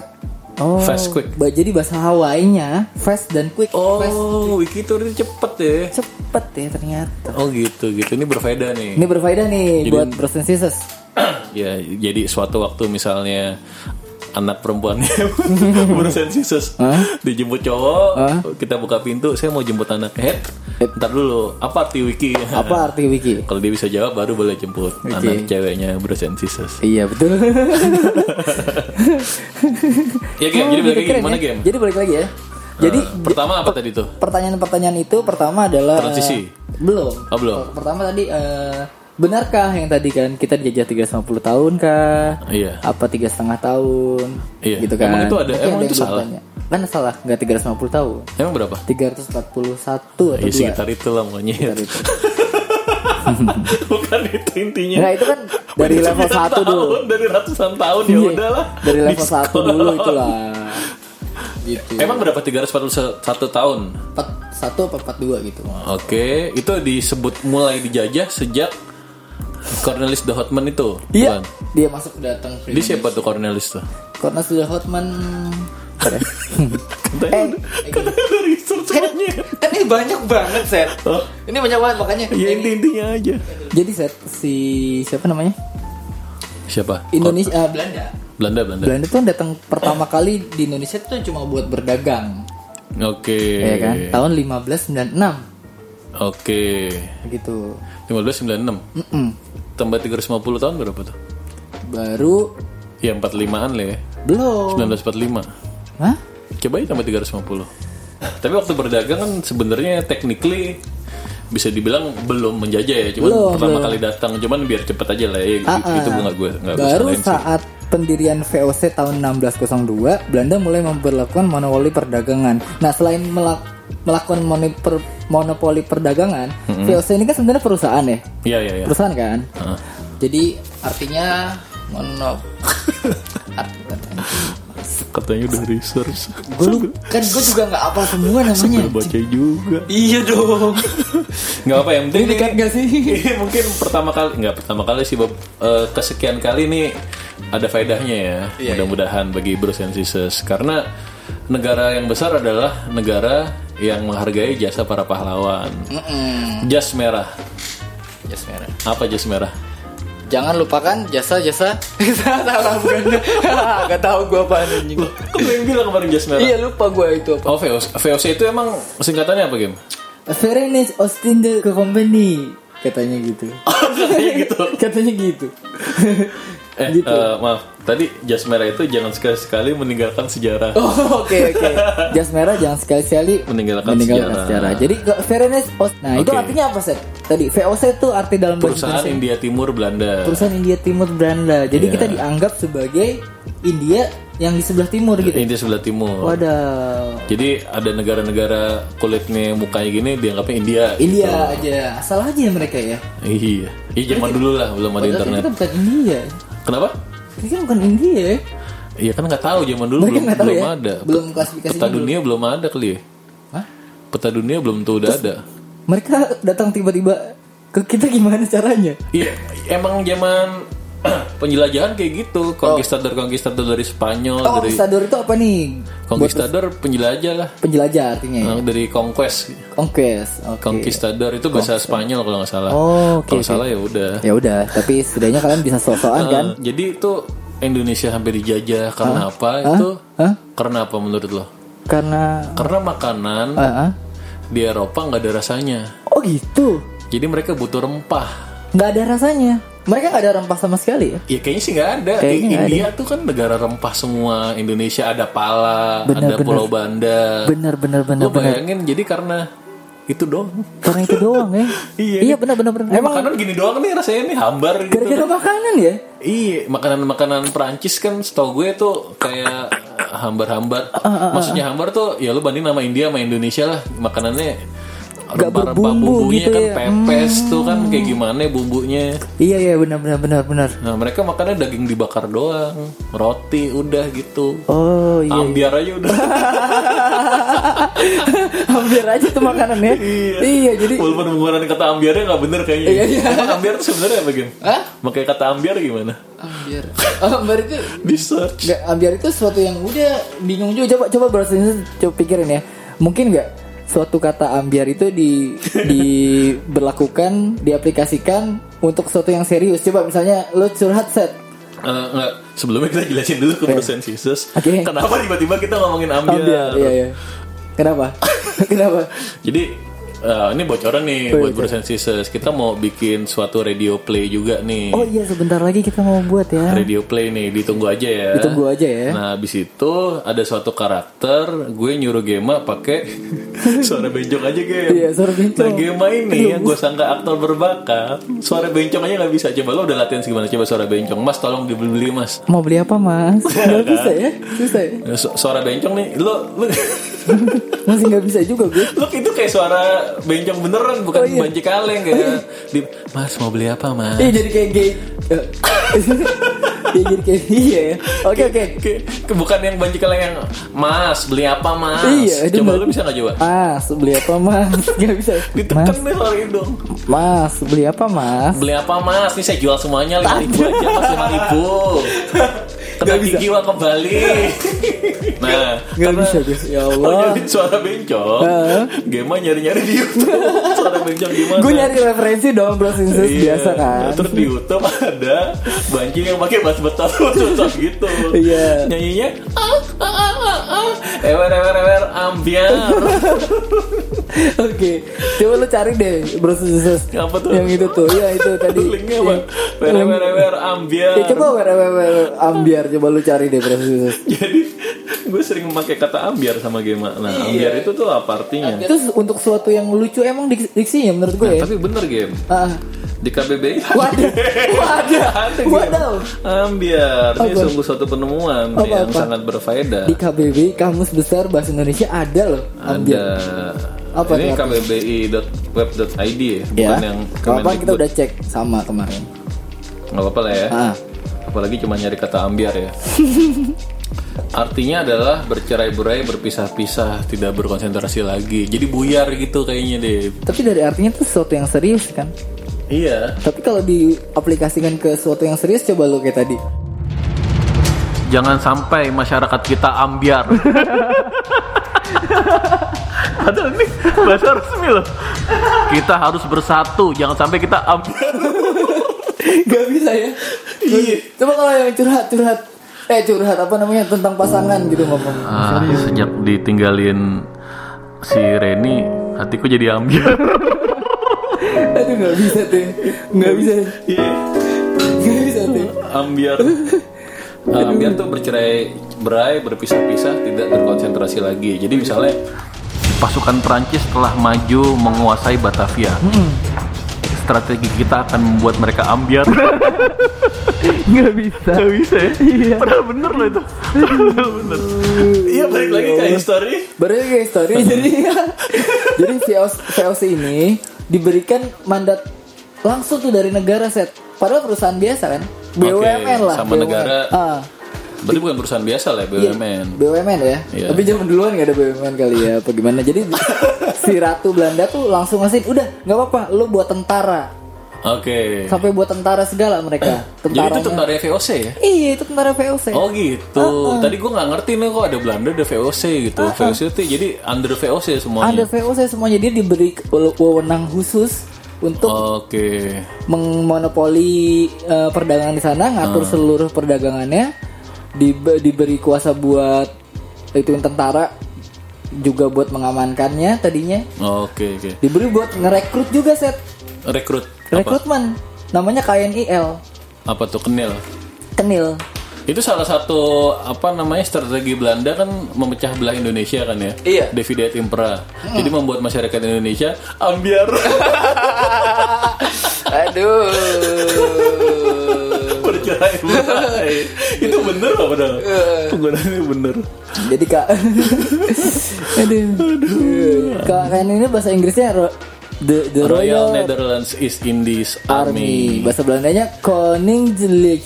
S2: Oh,
S1: Fast quick.
S2: ba- Jadi bahasa Hawaiinya fast dan quick. Fast
S1: Oh, wiki itu artinya cepet ya.
S2: cepet ya ternyata.
S1: Oh gitu gitu. Ini berbeda nih.
S2: Ini berfaedah nih buat Bros and Sisters.
S1: Ya, jadi suatu waktu misalnya anak perempuannya bersensisus dijemput cowok kita buka pintu saya mau jemput anak head ntar dulu apa arti wiki
S2: Apa arti wiki?
S1: kalau dia bisa jawab baru boleh jemput anak ceweknya bersensisus
S2: Iya betul.
S1: ya game jadi
S2: Oh,
S1: balik lagi
S2: keren
S1: gimana Eh.
S2: ya.
S1: game
S2: Jadi balik lagi ya. Jadi
S1: pertama apa tadi tuh
S2: pertanyaan-pertanyaan itu pertama adalah
S1: Transisi.
S2: eh, belum.
S1: Oh, belum.
S2: Pertama tadi eh, benarkah yang tadi kan kita dijajah 350 tahun kah?
S1: iya
S2: Apa tiga setengah tahun?
S1: Iya.
S2: Gitu kan.
S1: Emang itu ada-
S2: Tapi
S1: emang
S2: yang
S1: itu
S2: belum
S1: salah?
S2: tanya. Kan salah, enggak 350 tahun.
S1: emang berapa
S2: 341 atau
S1: ya
S2: dua.
S1: sekitar itu lah monyet
S2: itu.
S1: bukan itu intinya
S2: Nah, itu kan dari
S1: Udah
S2: level
S1: 9
S2: 1 dulu.
S1: tahun, dari ratusan tahun ya
S2: Iya.
S1: udahlah
S2: Dari level 1
S1: Diskon.
S2: dulu itulah. Gitu.
S1: emang berapa 341 tahun
S2: 41 apa 42 gitu.
S1: oke itu disebut mulai dijajah sejak Cornelis the Hotman itu Bukan?
S2: Iya, dia masuk datang
S1: dia siapa tuh Cornelis tuh
S2: Karena sudah Hotman Eh.
S1: katanya katanya udah research monyet
S3: Kan ini banyak banget set.
S1: Oh,
S3: Ini banyak banget makanya.
S1: ya inti intinya aja
S2: Jadi set si siapa namanya?
S1: siapa
S2: Indonesia ah, Bel-
S3: Belanda.
S1: Belanda Belanda
S2: Belanda tuh datang pertama kali di Indonesia tuh cuma buat berdagang,
S1: oke
S2: ya kan? Tahun 1596
S1: oke
S2: gitu.
S1: 1596
S2: Mm-mm.
S1: tambah 350 tahun berapa tuh
S2: Baru
S1: ya 45an lah ya
S2: belum.
S1: 1945
S2: Hah?
S1: Coba aja tambah 350 Tapi waktu berdagang kan sebenarnya technically bisa dibilang belum menjajah ya cuman
S2: Belum,
S1: pertama
S2: belum.
S1: kali datang cuman biar cepet aja lah ya
S2: Ah,
S1: itu
S2: ah.
S1: gue nggak gue nggak gue
S2: Baru
S1: salahin sih.
S2: saat pendirian VOC tahun 1602, Belanda mulai memperlakukan monopoli perdagangan. Nah, selain melak- melakukan moni- per- monopoli perdagangan, VOC ini kan sebenarnya perusahaan ya,
S1: Iya iya iya.
S2: perusahaan kan.
S1: Heeh.
S2: Jadi artinya monop.
S1: Katanya udah research.
S2: Gue lu kan gue juga nggak apa semua namanya.
S1: Sambil baca juga.
S3: Iya dong.
S1: Nggak apa yang penting.
S2: Dekat
S1: nih,
S2: gak sih?
S1: Iya, mungkin pertama kali nggak pertama kali sih Bob Eh, kesekian kali nih ada faedahnya
S2: Iya,
S1: ya mudah-mudahan bagi Bruce and Sisters karena negara yang besar adalah negara yang menghargai jasa para pahlawan jas merah
S3: Jas merah.
S1: apa jas merah
S3: Jangan lupakan jasa-jasa. Salah bukan. Gak tahu gue apa anjing.
S1: kok Kan yang bilang kemarin jas merah
S3: Iya lupa gue itu apa.
S1: oh VOC, VOC itu emang singkatannya apa game
S2: Ferenc Austin the ke company katanya gitu.
S1: Katanya gitu
S2: katanya gitu.
S1: eh
S2: Gitu.
S1: eh, maaf tadi jas merah itu jangan sekali sekali meninggalkan sejarah
S2: Oh, Oke oke. Jas merah jangan sekali-sekali
S1: Meninggalkan sejarah.
S2: Jadi ke- Ferenc Austin. Nah, itu
S1: Oke.
S2: artinya apa, Seth? Tadi VOC itu arti dalam bahasa
S1: perusahaan
S2: Indonesia.
S1: India Timur Belanda
S2: Perusahaan India Timur Belanda. Jadi
S1: Iya.
S2: kita dianggap sebagai India yang di sebelah timur gitu.
S1: India sebelah timur
S2: Wadah.
S1: Jadi ada negara-negara kulitnya mukanya gini dianggapnya India.
S2: India aja. Asal aja ya mereka ya.
S1: Iya. Iya zaman dulu lah belum ada
S2: Padahal
S1: internet.
S2: kita bukan India.
S1: Kenapa?
S2: Kita bukan India. ya.
S1: Iya kan nggak tahu zaman dulu
S2: Mereka
S1: belum,
S2: nggak tahu
S1: belum
S2: ya?
S1: ada.
S2: Belum klasifikasinya
S1: Peta
S2: belum.
S1: dunia belum ada kali. ya?
S2: Hah?
S1: Peta dunia belum tuh udah ada.
S2: Mereka datang tiba-tiba ke kita gimana caranya?
S1: Iya. Emang zaman penjelajahan kayak gitu. Conquistador-conquistador dari Spanyol
S2: Oh,
S1: dari
S2: konquistador itu apa nih?
S1: conquistador penjelajah lah.
S2: Penjelajah artinya ya.
S1: Nah, dari conquest.
S2: Iya. Conquest. Oke.
S1: Conquistador itu bahasa Spanyol kalau nggak salah.
S2: Oh, oke,
S1: kalau
S2: oke.
S1: salah ya udah.
S2: Ya udah, tapi setidaknya kalian bisa sosokan kan?
S1: Eh, Jadi itu Indonesia hampir dijajah karena apa itu?
S2: Hah?
S1: Karena apa menurut lo?
S2: Karena
S1: Karena makanan
S2: Ah, ah.
S1: di Eropa nggak ada rasanya.
S2: Oh gitu.
S1: Jadi mereka butuh rempah.
S2: nggak ada rasanya. Mereka nggak ada rempah sama sekali ya.
S1: Ya kayaknya sih nggak ada. Di
S2: Kayaknya nggak
S1: India tuh kan negara rempah semua. Indonesia ada pala,
S2: Bener,
S1: ada
S2: bener.
S1: Pulau Banda.
S2: Bener bener bener
S1: Lo
S2: bener.
S1: bayangin jadi karena itu doang.
S2: Karena itu doang ya.
S1: Iya.
S2: Iya bener bener bener.
S1: Ini
S2: Emang
S1: makanan gini doang nih rasanya nih hambar gitu.
S2: gara-gara makanan ya.
S1: Iya, makanan-makanan Perancis kan setahu gue tuh kayak hambar-hambar.
S2: Ah,
S1: Maksudnya hambar tuh ya lu banding nama India sama Indonesia lah. Makanannya rempah-rempah
S2: berbumbu
S1: bumbunya
S2: gitu
S1: kan
S2: ya.
S1: pepes tuh kan
S2: Hmm.
S1: kayak gimana bumbunya.
S2: Iya iya bener bener bener bener.
S1: Nah, mereka makannya daging dibakar doang, roti udah gitu.
S2: Oh iya.
S1: Ambiar aja udah.
S2: Hampir aja tuh makanan ya. Ah. iya jadi.
S1: Walaupun penggunaan kata ambiarnya nggak bener kayaknya.
S2: Iya, iya.
S1: Emang ambiar tuh sebenarnya apa Gin?
S2: Hah?
S1: Pakai kata ambiar gimana?
S2: Ambiar. Ambiar itu
S1: Di search.
S2: Nggak, ambiar itu sesuatu yang udah bingung juga. Coba coba bahasa Indonesia coba pikirin ya. Mungkin nggak suatu kata ambiar itu di diberlakukan, diaplikasikan untuk sesuatu yang serius. Coba misalnya lo curhat set.
S1: Eh, enggak. sebelumnya kita jelasin dulu ke Bruce and Sisters.
S2: Oke.
S1: Kenapa tiba-tiba kita ngomongin ambiar?
S2: Ambiar, iya iya. Kenapa? Kenapa?
S1: Jadi eh, ini bocoran nih
S2: Oh,
S1: buat
S2: iya.
S1: Bruce and Sisters. Kita mau bikin suatu radio play juga nih.
S2: Oh iya sebentar lagi kita mau buat ya.
S1: Radio play nih, ditunggu aja ya.
S2: Ditunggu aja ya.
S1: Nah, abis itu ada suatu karakter, gue nyuruh Gema pakai suara bencong aja, Gem.
S2: Iya, suara bencong.
S1: Nah, Gema ini yang gue sangka aktor berbakat, suara bencong aja nggak bisa. Coba lo udah latihan segimana? Coba suara bencong. Mas, tolong dibeli, Mas.
S2: Mau beli apa mas? Nggak bisa ya, bisa ya.
S1: Nah, su- Suara bencong nih, lo, lo
S2: Masih nggak bisa juga gue.
S1: Look itu kayak suara bencong beneran bukan
S2: Oh, iya.
S1: banci kaleng kayak di, Mas mau beli apa mas?
S2: Iya jadi kayak gay. Eh, Iya jadi kayak iya. ya. Oke oke.
S1: Kayak- kayak bukan yang banci kaleng yang Mas beli apa mas?
S2: Iya, itu
S1: coba
S2: bener.
S1: lu bisa nggak coba?
S2: Mas beli apa mas? Gak bisa.
S1: Ditekan
S2: Mas,
S1: deh soal hidung.
S2: mas beli apa mas?
S1: Beli apa mas? Nih saya jual semuanya lima ribu aja mas lima ribu. Kena gigi wah kembali. Nah,
S2: Gak bisa gue. Ya
S1: kalau
S2: Allah.
S1: nyari suara bencong,
S2: Heeh.
S1: Gema nyari-nyari di YouTube suara bencong gimana?
S2: Gue nyari referensi dong Bro Sinsus
S1: Iya.
S2: biasa kan.
S1: Terus di YouTube ada banci yang pakai bass betas betas gitu.
S2: Iya.
S1: Nyanyinya ah, ah, ah, ah, ah. ewer ewer ewer ambiar.
S2: Oke. Coba lu cari deh Bro Sinsus.
S1: Apa tuh?
S2: Yang itu tuh. Ya itu tadi.
S1: Linknya apa? Ewer
S2: Yang-
S1: ewer ewer ambiar.
S2: Ya coba wer wer wer- ambiar coba lu cari deh Bro Sinsus.
S1: Jadi gue sering memakai kata ambiar sama Gema. Nah,
S2: Iya.
S1: ambiar itu tuh apa artinya?
S2: Terus untuk suatu yang lucu emang dik- diksinya menurut gue ya.
S1: Tapi bener game
S2: Ah.
S1: di KBBI
S2: Waduh, waduh,
S1: ada Gem.
S2: waduh.
S1: ambiar ini
S2: Apa?
S1: sungguh suatu penemuan
S2: Apa,
S1: yang
S2: apa?
S1: sangat berfaedah.
S2: Di KBBI Kamus Besar Bahasa Indonesia ada loh.
S1: ada
S2: ambiar. Apa
S1: apa ini
S2: tuh?
S1: kbbi.web.id ya
S2: Ya.
S1: bukan yang
S2: Kapan kita
S1: Kemendikbud.
S2: udah cek sama kemarin.
S1: nggak apa-apa lah ya
S2: Ah.
S1: apalagi cuma nyari kata ambiar ya Artinya adalah bercerai-berai, berpisah-pisah, tidak berkonsentrasi lagi. Jadi buyar gitu kayaknya deh.
S2: Tapi dari artinya itu sesuatu yang serius kan.
S1: Iya.
S2: Tapi kalau diaplikasikan ke sesuatu yang serius coba lo kayak tadi.
S1: Jangan sampai masyarakat kita ambiar. Padahal ini bahasa resmi loh. Kita harus bersatu, jangan sampai kita ambiar.
S2: Gak bisa ya. Iya. Coba kalau yang curhat curhat. Eh curhat apa namanya tentang pasangan gitu ngomong.
S1: Ah, sejak ditinggalin si Reni, hatiku jadi ambiar.
S2: Aduh gak bisa tuh. Gak bisa.
S1: Iya.
S2: Gak bisa tuh.
S1: ambiar ambiar tuh bercerai berai berpisah-pisah tidak berkonsentrasi lagi jadi misalnya pasukan Prancis telah maju menguasai Batavia strategi kita akan membuat mereka ambiar
S4: Nggak bisa.
S1: Gak bisa ya padahal bener loh itu Padahal bener iya balik lagi ke history
S2: Baru kayak story jadi jadi VOC, VOC ini diberikan mandat langsung tuh dari negara set. Padahal perusahaan biasa kan. BUMN lah.
S1: sama
S2: BUMN.
S1: negara.
S2: Ah,
S1: berarti bukan perusahaan biasa lah ya,
S2: iya,
S1: BUMN
S2: BUMN ya.
S1: Iya.
S2: Tapi zaman duluan gak ada BUMN kali ya. Apa gimana? Jadi si ratu Belanda tuh langsung ngasih udah nggak apa-apa lu buat tentara.
S1: oke
S2: Sampai buat tentara segala
S1: Iya.
S2: mereka.
S1: jadi itu
S2: Tentaranya.
S1: tentara VOC ya
S2: Iya, itu tentara VOC.
S1: Oh gitu. Tadi gue nggak ngerti nih kok ada Belanda ada VOC gitu. VOC itu jadi under VOC
S2: Ada
S1: semuanya.
S2: VOC semuanya dia diberi ke- wewenang khusus untuk
S1: Oke.
S2: mengmonopoli eh, perdagangan di sana, ngatur
S1: Ah.
S2: seluruh perdagangannya, dibe- diberi kuasa buat itu tentara juga buat mengamankannya tadinya,
S1: Oke oke.
S2: diberi buat ngerekrut juga set
S1: Rekrut apa?
S2: rekrutmen namanya KNIL
S1: Apa tuh kenil?
S2: Kenil
S1: Itu salah satu apa namanya strategi Belanda kan memecah belah Indonesia kan ya.
S2: Iya. Hmm.
S1: Dividet impera. Jadi membuat masyarakat Indonesia ambiar.
S2: aduh
S1: bercerai berai.
S2: Iya.
S1: itu bener apa padahal? Penggunaannya bener.
S2: jadi kak aduh, Kak- KNIL ini bahasa Inggrisnya ro- the, the
S1: Royal
S2: Royal,
S1: Netherlands East Indies
S2: Army.
S1: Army.
S2: bahasa Belandanya Koninklijk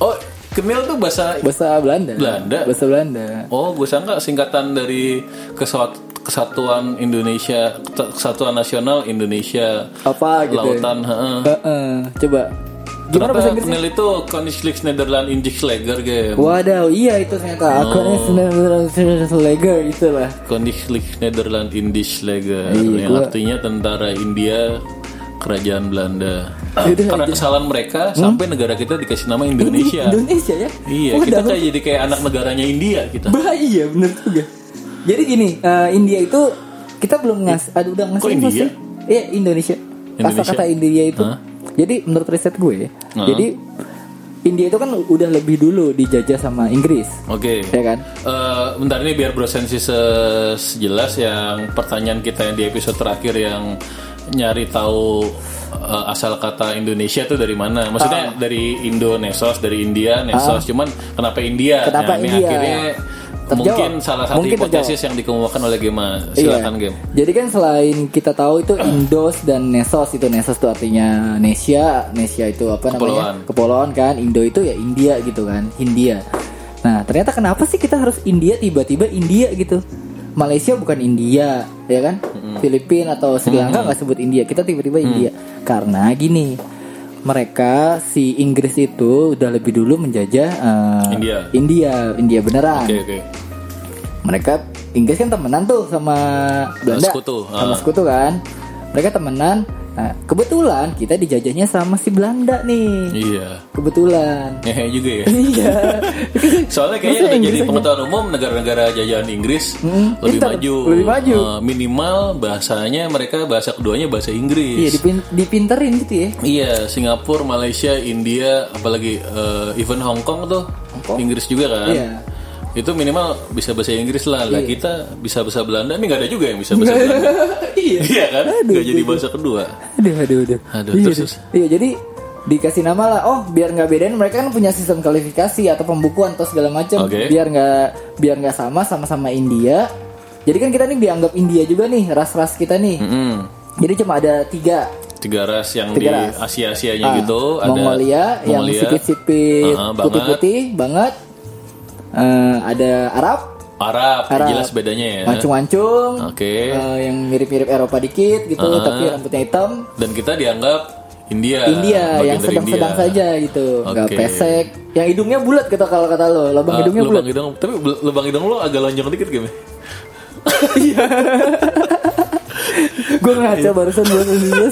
S1: Oh, kenil tuh bahasa
S2: bahasa Belanda.
S1: Belanda?
S2: Bahasa Belanda.
S1: Oh, gue sangka singkatan dari Kesat- Kesatuan Indonesia, Kesatuan Nasional Indonesia
S2: Apa gitu?
S1: Lautan. heeh.
S2: Heeh, coba. Gimana
S1: Ternyata
S2: bahasa Inggrisnya?
S1: Knil itu Koninklijk Nederland Indijksleger game.
S2: Wadaw, iya itu ternyata.
S1: Oh.
S2: Aku ini sebenarnya leger itu gitu lah.
S1: Koninklijk Nederland Indijksleger
S2: Iya,
S1: yang
S2: gua-
S1: artinya tentara India Kerajaan Belanda.
S2: Yaudah,
S1: Karena
S2: aja.
S1: kesalahan mereka sampai negara kita dikasih nama Indonesia.
S2: Indonesia ya?
S1: Iya,
S2: Wadaw.
S1: kita kayak jadi kayak anak negaranya India kita.
S2: Bah, iya bener juga. Jadi gini, eh, India itu kita belum ngas, aduh udah ngasih
S1: Kok
S2: info
S1: India?
S2: sih. Iya Indonesia.
S1: Indonesia?
S2: Kata-kata India itu.
S1: Hah?
S2: Jadi menurut riset gue,
S1: Hah?
S2: jadi India itu kan udah lebih dulu dijajah sama Inggris,
S1: Oke.
S2: ya kan?
S1: Eh, bentar ini biar brosensi sejelas yang pertanyaan kita yang di episode terakhir yang nyari tahu eh, asal kata Indonesia tuh dari mana?
S2: Ah.
S1: Maksudnya dari Indo Nesos, dari India Nesos. Cuman kenapa India? Nah,
S2: Kenapa
S1: ini
S2: India?
S1: akhirnya
S2: Terjawab.
S1: mungkin salah satu
S2: Mungkin
S1: hipotesis yang dikemukakan oleh Gema. Silakan
S2: Iya.
S1: Gem.
S2: Jadi kan selain kita tahu itu Indos dan Nesos itu Nesos itu artinya Nesia, Nesia itu apa namanya?
S1: Kepulauan.
S2: Kepulauan kan. Indo itu ya India gitu kan, Hindia. Nah, ternyata kenapa sih kita harus India tiba-tiba India gitu? Malaysia bukan India, ya kan? Filipina atau Sri Lanka nggak sebut India, kita tiba-tiba India. Karena gini, mereka si Inggris itu udah lebih dulu menjajah eh,
S1: India.
S2: India, India beneran
S1: Oke oke.
S2: mereka Inggris kan temenan tuh sama Belanda
S1: Sekutu,
S2: sama
S1: ah.
S2: sekutu kan mereka temenan Nah, kebetulan kita dijajahnya sama si Belanda nih
S1: Iya.
S2: kebetulan
S1: Ngehe juga ya.
S2: iya
S1: Soalnya kayaknya
S2: Maksudnya
S1: udah jadi
S2: Inggris aja.
S1: pengetahuan umum negara-negara jajahan Inggris
S2: Mm,
S1: lebih
S2: pinter,
S1: maju.
S2: lebih maju.
S1: Eh, minimal bahasanya mereka bahasa keduanya bahasa Inggris.
S2: iya dipin- dipinterin gitu ya
S1: Iya, Singapura, Malaysia, India, apalagi eh, even Hong Kong tuh Inggris juga kan.
S2: Iya.
S1: Itu minimal bisa bahasa Inggris lah. Lah kita bisa bahasa Belanda, ini nggak ada juga yang bisa bahasa Belanda.
S2: iya
S1: iya kan?
S2: Aduh,
S1: Nggak jadi
S2: aduh.
S1: bahasa kedua.
S2: aduh
S1: Aduh,
S2: aduh aduh, iya,
S1: terus,
S2: aduh.
S1: terus.
S2: Iya, jadi dikasih nama lah oh biar nggak bedain mereka kan punya sistem kualifikasi atau pembukuan atau segala macam
S1: Oke.
S2: biar nggak biar nggak sama sama-sama India jadi kan kita nih dianggap India juga nih ras-ras kita nih
S1: Mm-mm.
S2: jadi cuma ada tiga
S1: Tiga ras yang
S2: Tiga
S1: di
S2: ras.
S1: Asia-Asianya
S2: Ah,
S1: gitu. Ada
S2: Mongolia, yang
S1: Mongolia.
S2: sipit-sipit
S1: Ah, banget.
S2: putih-putih banget eh, ada Arab,
S1: Arab,
S2: Arab.
S1: jelas bedanya ya.
S2: mancung-mancung,
S1: Oke.
S2: eh, yang mirip-mirip Eropa dikit gitu,
S1: Ah.
S2: tapi rambutnya hitam.
S1: Dan kita dianggap India.
S2: India
S1: Ya, bagian
S2: yang
S1: dari
S2: sedang-sedang
S1: India. Eh,
S2: saja gitu, nggak
S1: Oke.
S2: pesek. Yang hidungnya bulat kata kalau kata lo, lubang
S1: Ah,
S2: hidungnya
S1: lubang
S2: bulat.
S1: hidung, tapi bel- lubang hidung lo agak lonjong dikit ya? gak? Mi?
S2: Gue ngaca barusan gue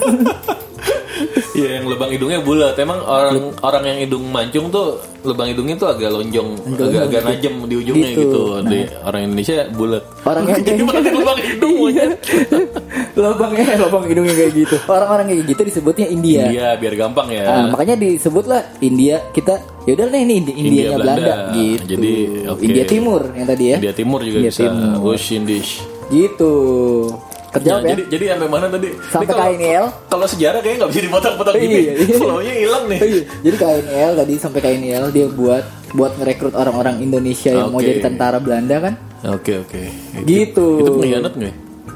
S1: Iya, yang lubang hidungnya bulat. Emang orang orang yang hidung mancung tuh lubang hidungnya tuh agak lonjong, agak agak najem di ujungnya
S2: Gitu.
S1: gitu. Di orang Indonesia bulat.
S2: Orang yang Iya.
S1: Jadi berarti lubang hidung monyet.
S2: lubangnya lubang hidungnya kayak gitu. Orang-orang kayak gitu disebutnya India.
S1: Iya, biar gampang ya.
S2: Ah, makanya disebutlah India kita ya udah nih ini Indi-
S1: India,
S2: Indianya
S1: Belanda. Nah,
S2: Belanda. gitu.
S1: Jadi, oke.
S2: India Timur yang tadi ya.
S1: India Timur juga
S2: India
S1: bisa.
S2: Timur.
S1: West Indies.
S2: Gitu. Terjawab
S1: Nah,
S2: ya.
S1: Jadi jadi sampai mana tadi? Ini
S2: Sampai
S1: kalau-
S2: KNL.
S1: Kalau sejarah kayaknya nggak bisa dipotong-potong gini.
S2: Iya, iya.
S1: Flownya hilang nih.
S2: Iya, Jadi KNL tadi sampai KNL dia buat buat merekrut orang-orang Indonesia yang mau
S1: Oke.
S2: jadi tentara Belanda kan?
S1: Oke oke. Itu-
S2: Gitu.
S1: Itu pengkhianat nggak? ya?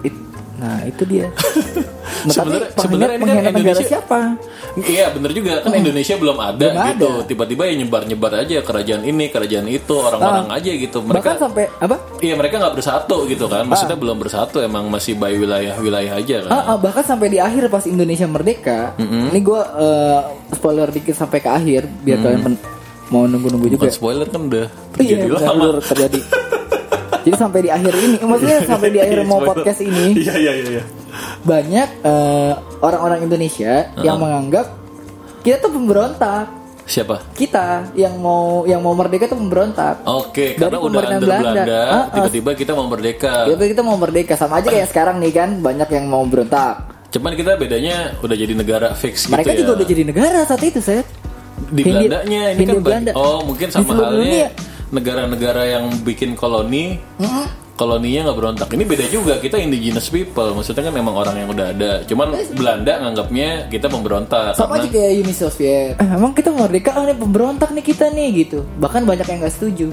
S2: It- nah itu dia. Nah, tapi
S1: Sebenarnya-
S2: pengkhianat
S1: sebenarnya ini kan
S2: pengkhianat negara
S1: Indonesia-
S2: siapa?
S1: Iya bener juga kan Indonesia belum ada
S2: Hmm. Belum
S1: gitu
S2: ada.
S1: tiba-tiba ya nyebar-nyebar aja kerajaan ini kerajaan itu orang-orang aja gitu
S2: Nah, Bahkan
S1: mereka
S2: sampai apa?
S1: iya mereka nggak bersatu gitu kan maksudnya belum bersatu emang masih by wilayah-wilayah aja kan
S2: Ah, ah, bahkan sampai di akhir pas Indonesia merdeka, ini gue spoiler dikit sampai ke akhir biar kalian men- mau nunggu-nunggu
S1: bukan
S2: juga.
S1: spoiler kan udah
S2: Iya,
S1: terjadi
S2: benar,
S1: lama
S2: benar, terjadi. Jadi sampai di akhir ini, maksudnya sampai di akhir mau podcast ini
S1: iya iya iya iya.
S2: banyak eh, orang-orang Indonesia
S1: Uh-uh.
S2: yang menganggap kita tuh pemberontak.
S1: siapa
S2: Kita yang mau yang mau merdeka tuh pemberontak.
S1: Oke,
S2: Dari
S1: karena udah
S2: pemerintahan
S1: under Belanda,
S2: Belanda. Ah, ah.
S1: tiba-tiba kita mau merdeka.
S2: Ya, kita mau merdeka sama aja kayak sekarang nih kan banyak yang mau berontak.
S1: Cuman kita bedanya udah jadi negara fix
S2: Mereka
S1: gitu
S2: juga
S1: ya.
S2: udah jadi negara saat itu, Seth.
S1: di
S2: Hindia-
S1: Belandanya ini kan
S2: Hindia
S1: bagi-
S2: Iya, Belanda.
S1: oh mungkin
S2: Di
S1: sama
S2: seluruh dunia.
S1: halnya negara-negara yang bikin koloni koloninya nggak berontak ini beda juga kita indigenous people maksudnya kan memang orang yang udah ada cuman Belanda nganggapnya kita memberontak
S2: Sama aja
S1: karena
S2: kayak Uni Soviet. Eh, emang kita merdeka ah, nih pemberontak nih kita nih gitu. Bahkan banyak yang nggak setuju.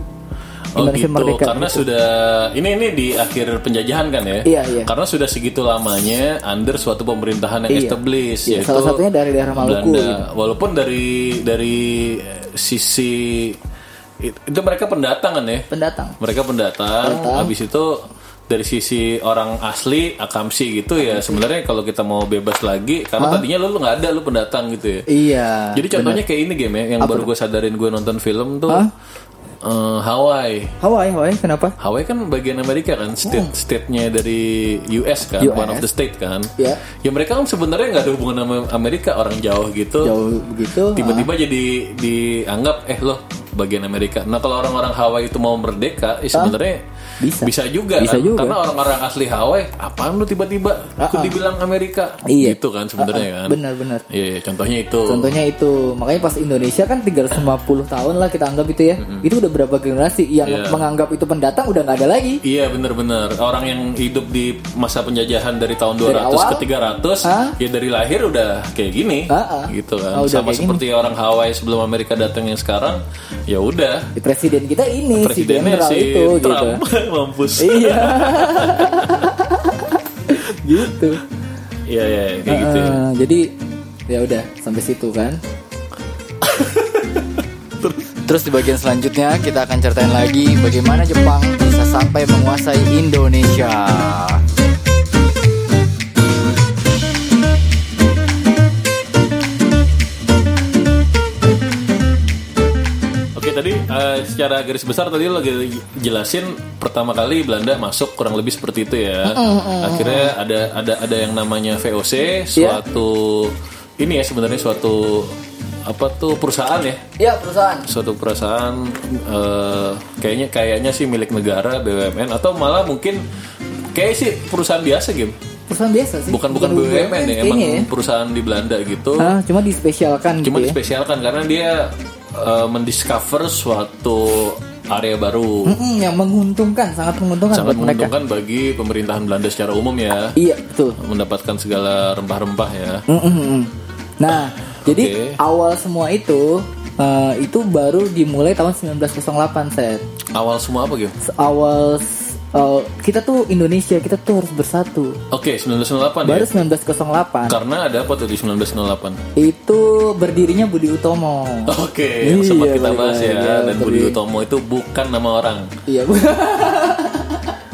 S1: Oh
S2: Indonesia
S1: gitu,
S2: merdeka.
S1: karena sudah ini ini di akhir penjajahan kan ya?
S2: Iya, iya.
S1: Karena sudah segitu lamanya under suatu pemerintahan yang
S2: Iya.
S1: established
S2: Iya,
S1: yaitu
S2: salah satunya dari daerah Maluku,
S1: Belanda.
S2: gitu.
S1: Walaupun dari dari eh, sisi it- itu mereka pendatang kan ya?
S2: Pendatang.
S1: mereka pendatang,
S2: Pendatang.
S1: habis itu dari sisi orang asli akamsi gitu ya sebenarnya kalau kita mau bebas lagi karena tadinya lu lu nggak ada lu pendatang gitu ya
S2: Iya.
S1: jadi contohnya kayak ini game ya yang baru gue sadarin gue nonton film tuh eh, Hawaii
S2: Hawaii, Hawaii kenapa?
S1: Hawaii kan bagian Amerika kan, state state-nya dari US kan,
S2: US.
S1: one of the state kan.
S2: Iya.
S1: Ya mereka kan sebenarnya nggak ada hubungan sama Amerika, orang jauh gitu.
S2: Jauh begitu.
S1: Tiba-tiba jadi dianggap eh loh bagian Amerika. Nah kalau orang-orang Hawaii itu mau merdeka, eh, sebenarnya
S2: Bisa.
S1: juga
S2: Bisa
S1: kan.
S2: juga. Ah,
S1: Karena orang-orang asli Hawaii, apaan lu tiba-tiba aku dibilang Amerika?
S2: Iya.
S1: Gitu kan sebenarnya kan.
S2: Benar-benar.
S1: Iya, iya, contohnya itu.
S2: Contohnya itu, makanya pas Indonesia kan 350 tahun lah kita anggap itu ya. Itu udah berapa generasi yang
S1: Iya.
S2: menganggap itu pendatang udah nggak ada lagi.
S1: Iya benar-benar orang yang hidup di masa penjajahan dari tahun 200
S2: awal?
S1: ke 300
S2: Hah?
S1: ya dari lahir udah kayak gini
S2: Ah, ah.
S1: gitu kan
S2: Oh, udah
S1: sama
S2: kayak
S1: seperti orang Hawaii sebelum Amerika datang yang sekarang ya udah
S2: Di presiden kita ini si
S1: presidennya
S2: general
S1: si
S2: itu gitu.
S1: Trump mampus
S2: Iya. gitu.
S1: iya iya kayak gitu ya.
S2: Eh, jadi ya udah sampai situ kan.
S3: Terus di bagian selanjutnya kita akan ceritain lagi bagaimana Jepang bisa sampai menguasai Indonesia.
S1: Oke tadi eh, secara garis besar tadi lo lagi jelasin pertama kali Belanda masuk kurang lebih seperti itu ya. Akhirnya ada ada ada yang namanya
S2: Iya.
S1: VOC suatu ini ya sebenarnya suatu apa tuh perusahaan ya
S2: Ya perusahaan.
S1: suatu perusahaan eh, kayaknya kayaknya sih milik negara BUMN atau malah mungkin kayak sih perusahaan biasa game
S2: Perusahaan biasa sih.
S1: bukan bukan BUMN ya emang
S2: kayaknya ya.
S1: perusahaan di Belanda gitu
S2: Ah, cuma dispesialkan
S1: cuma
S2: gitu ya.
S1: dispesialkan karena dia eh, mendiscover suatu area baru
S2: Mm-mm, yang menguntungkan, sangat menguntungkan
S1: sangat
S2: buat mereka.
S1: menguntungkan bagi pemerintahan Belanda secara umum ya
S2: Iya, betul.
S1: mendapatkan segala rempah-rempah ya
S2: Mm-mm-mm. Nah, jadi
S1: Oke.
S2: awal semua itu eh, itu baru dimulai tahun 1908 set.
S1: awal semua apa gitu
S2: Awal s- eh, kita tuh Indonesia, kita tuh harus bersatu.
S1: Oke, 1908
S2: Baru
S1: ya.
S2: 1908
S1: Karena ada apa tuh di 1908?
S2: itu berdirinya Budi Utomo.
S1: Oke, yang sempat
S2: Iya,
S1: kita
S2: balik
S1: bahas ya.
S2: lagi.
S1: Dan
S2: Tapi-
S1: Budi Utomo itu bukan nama orang.
S2: Iya. Bu.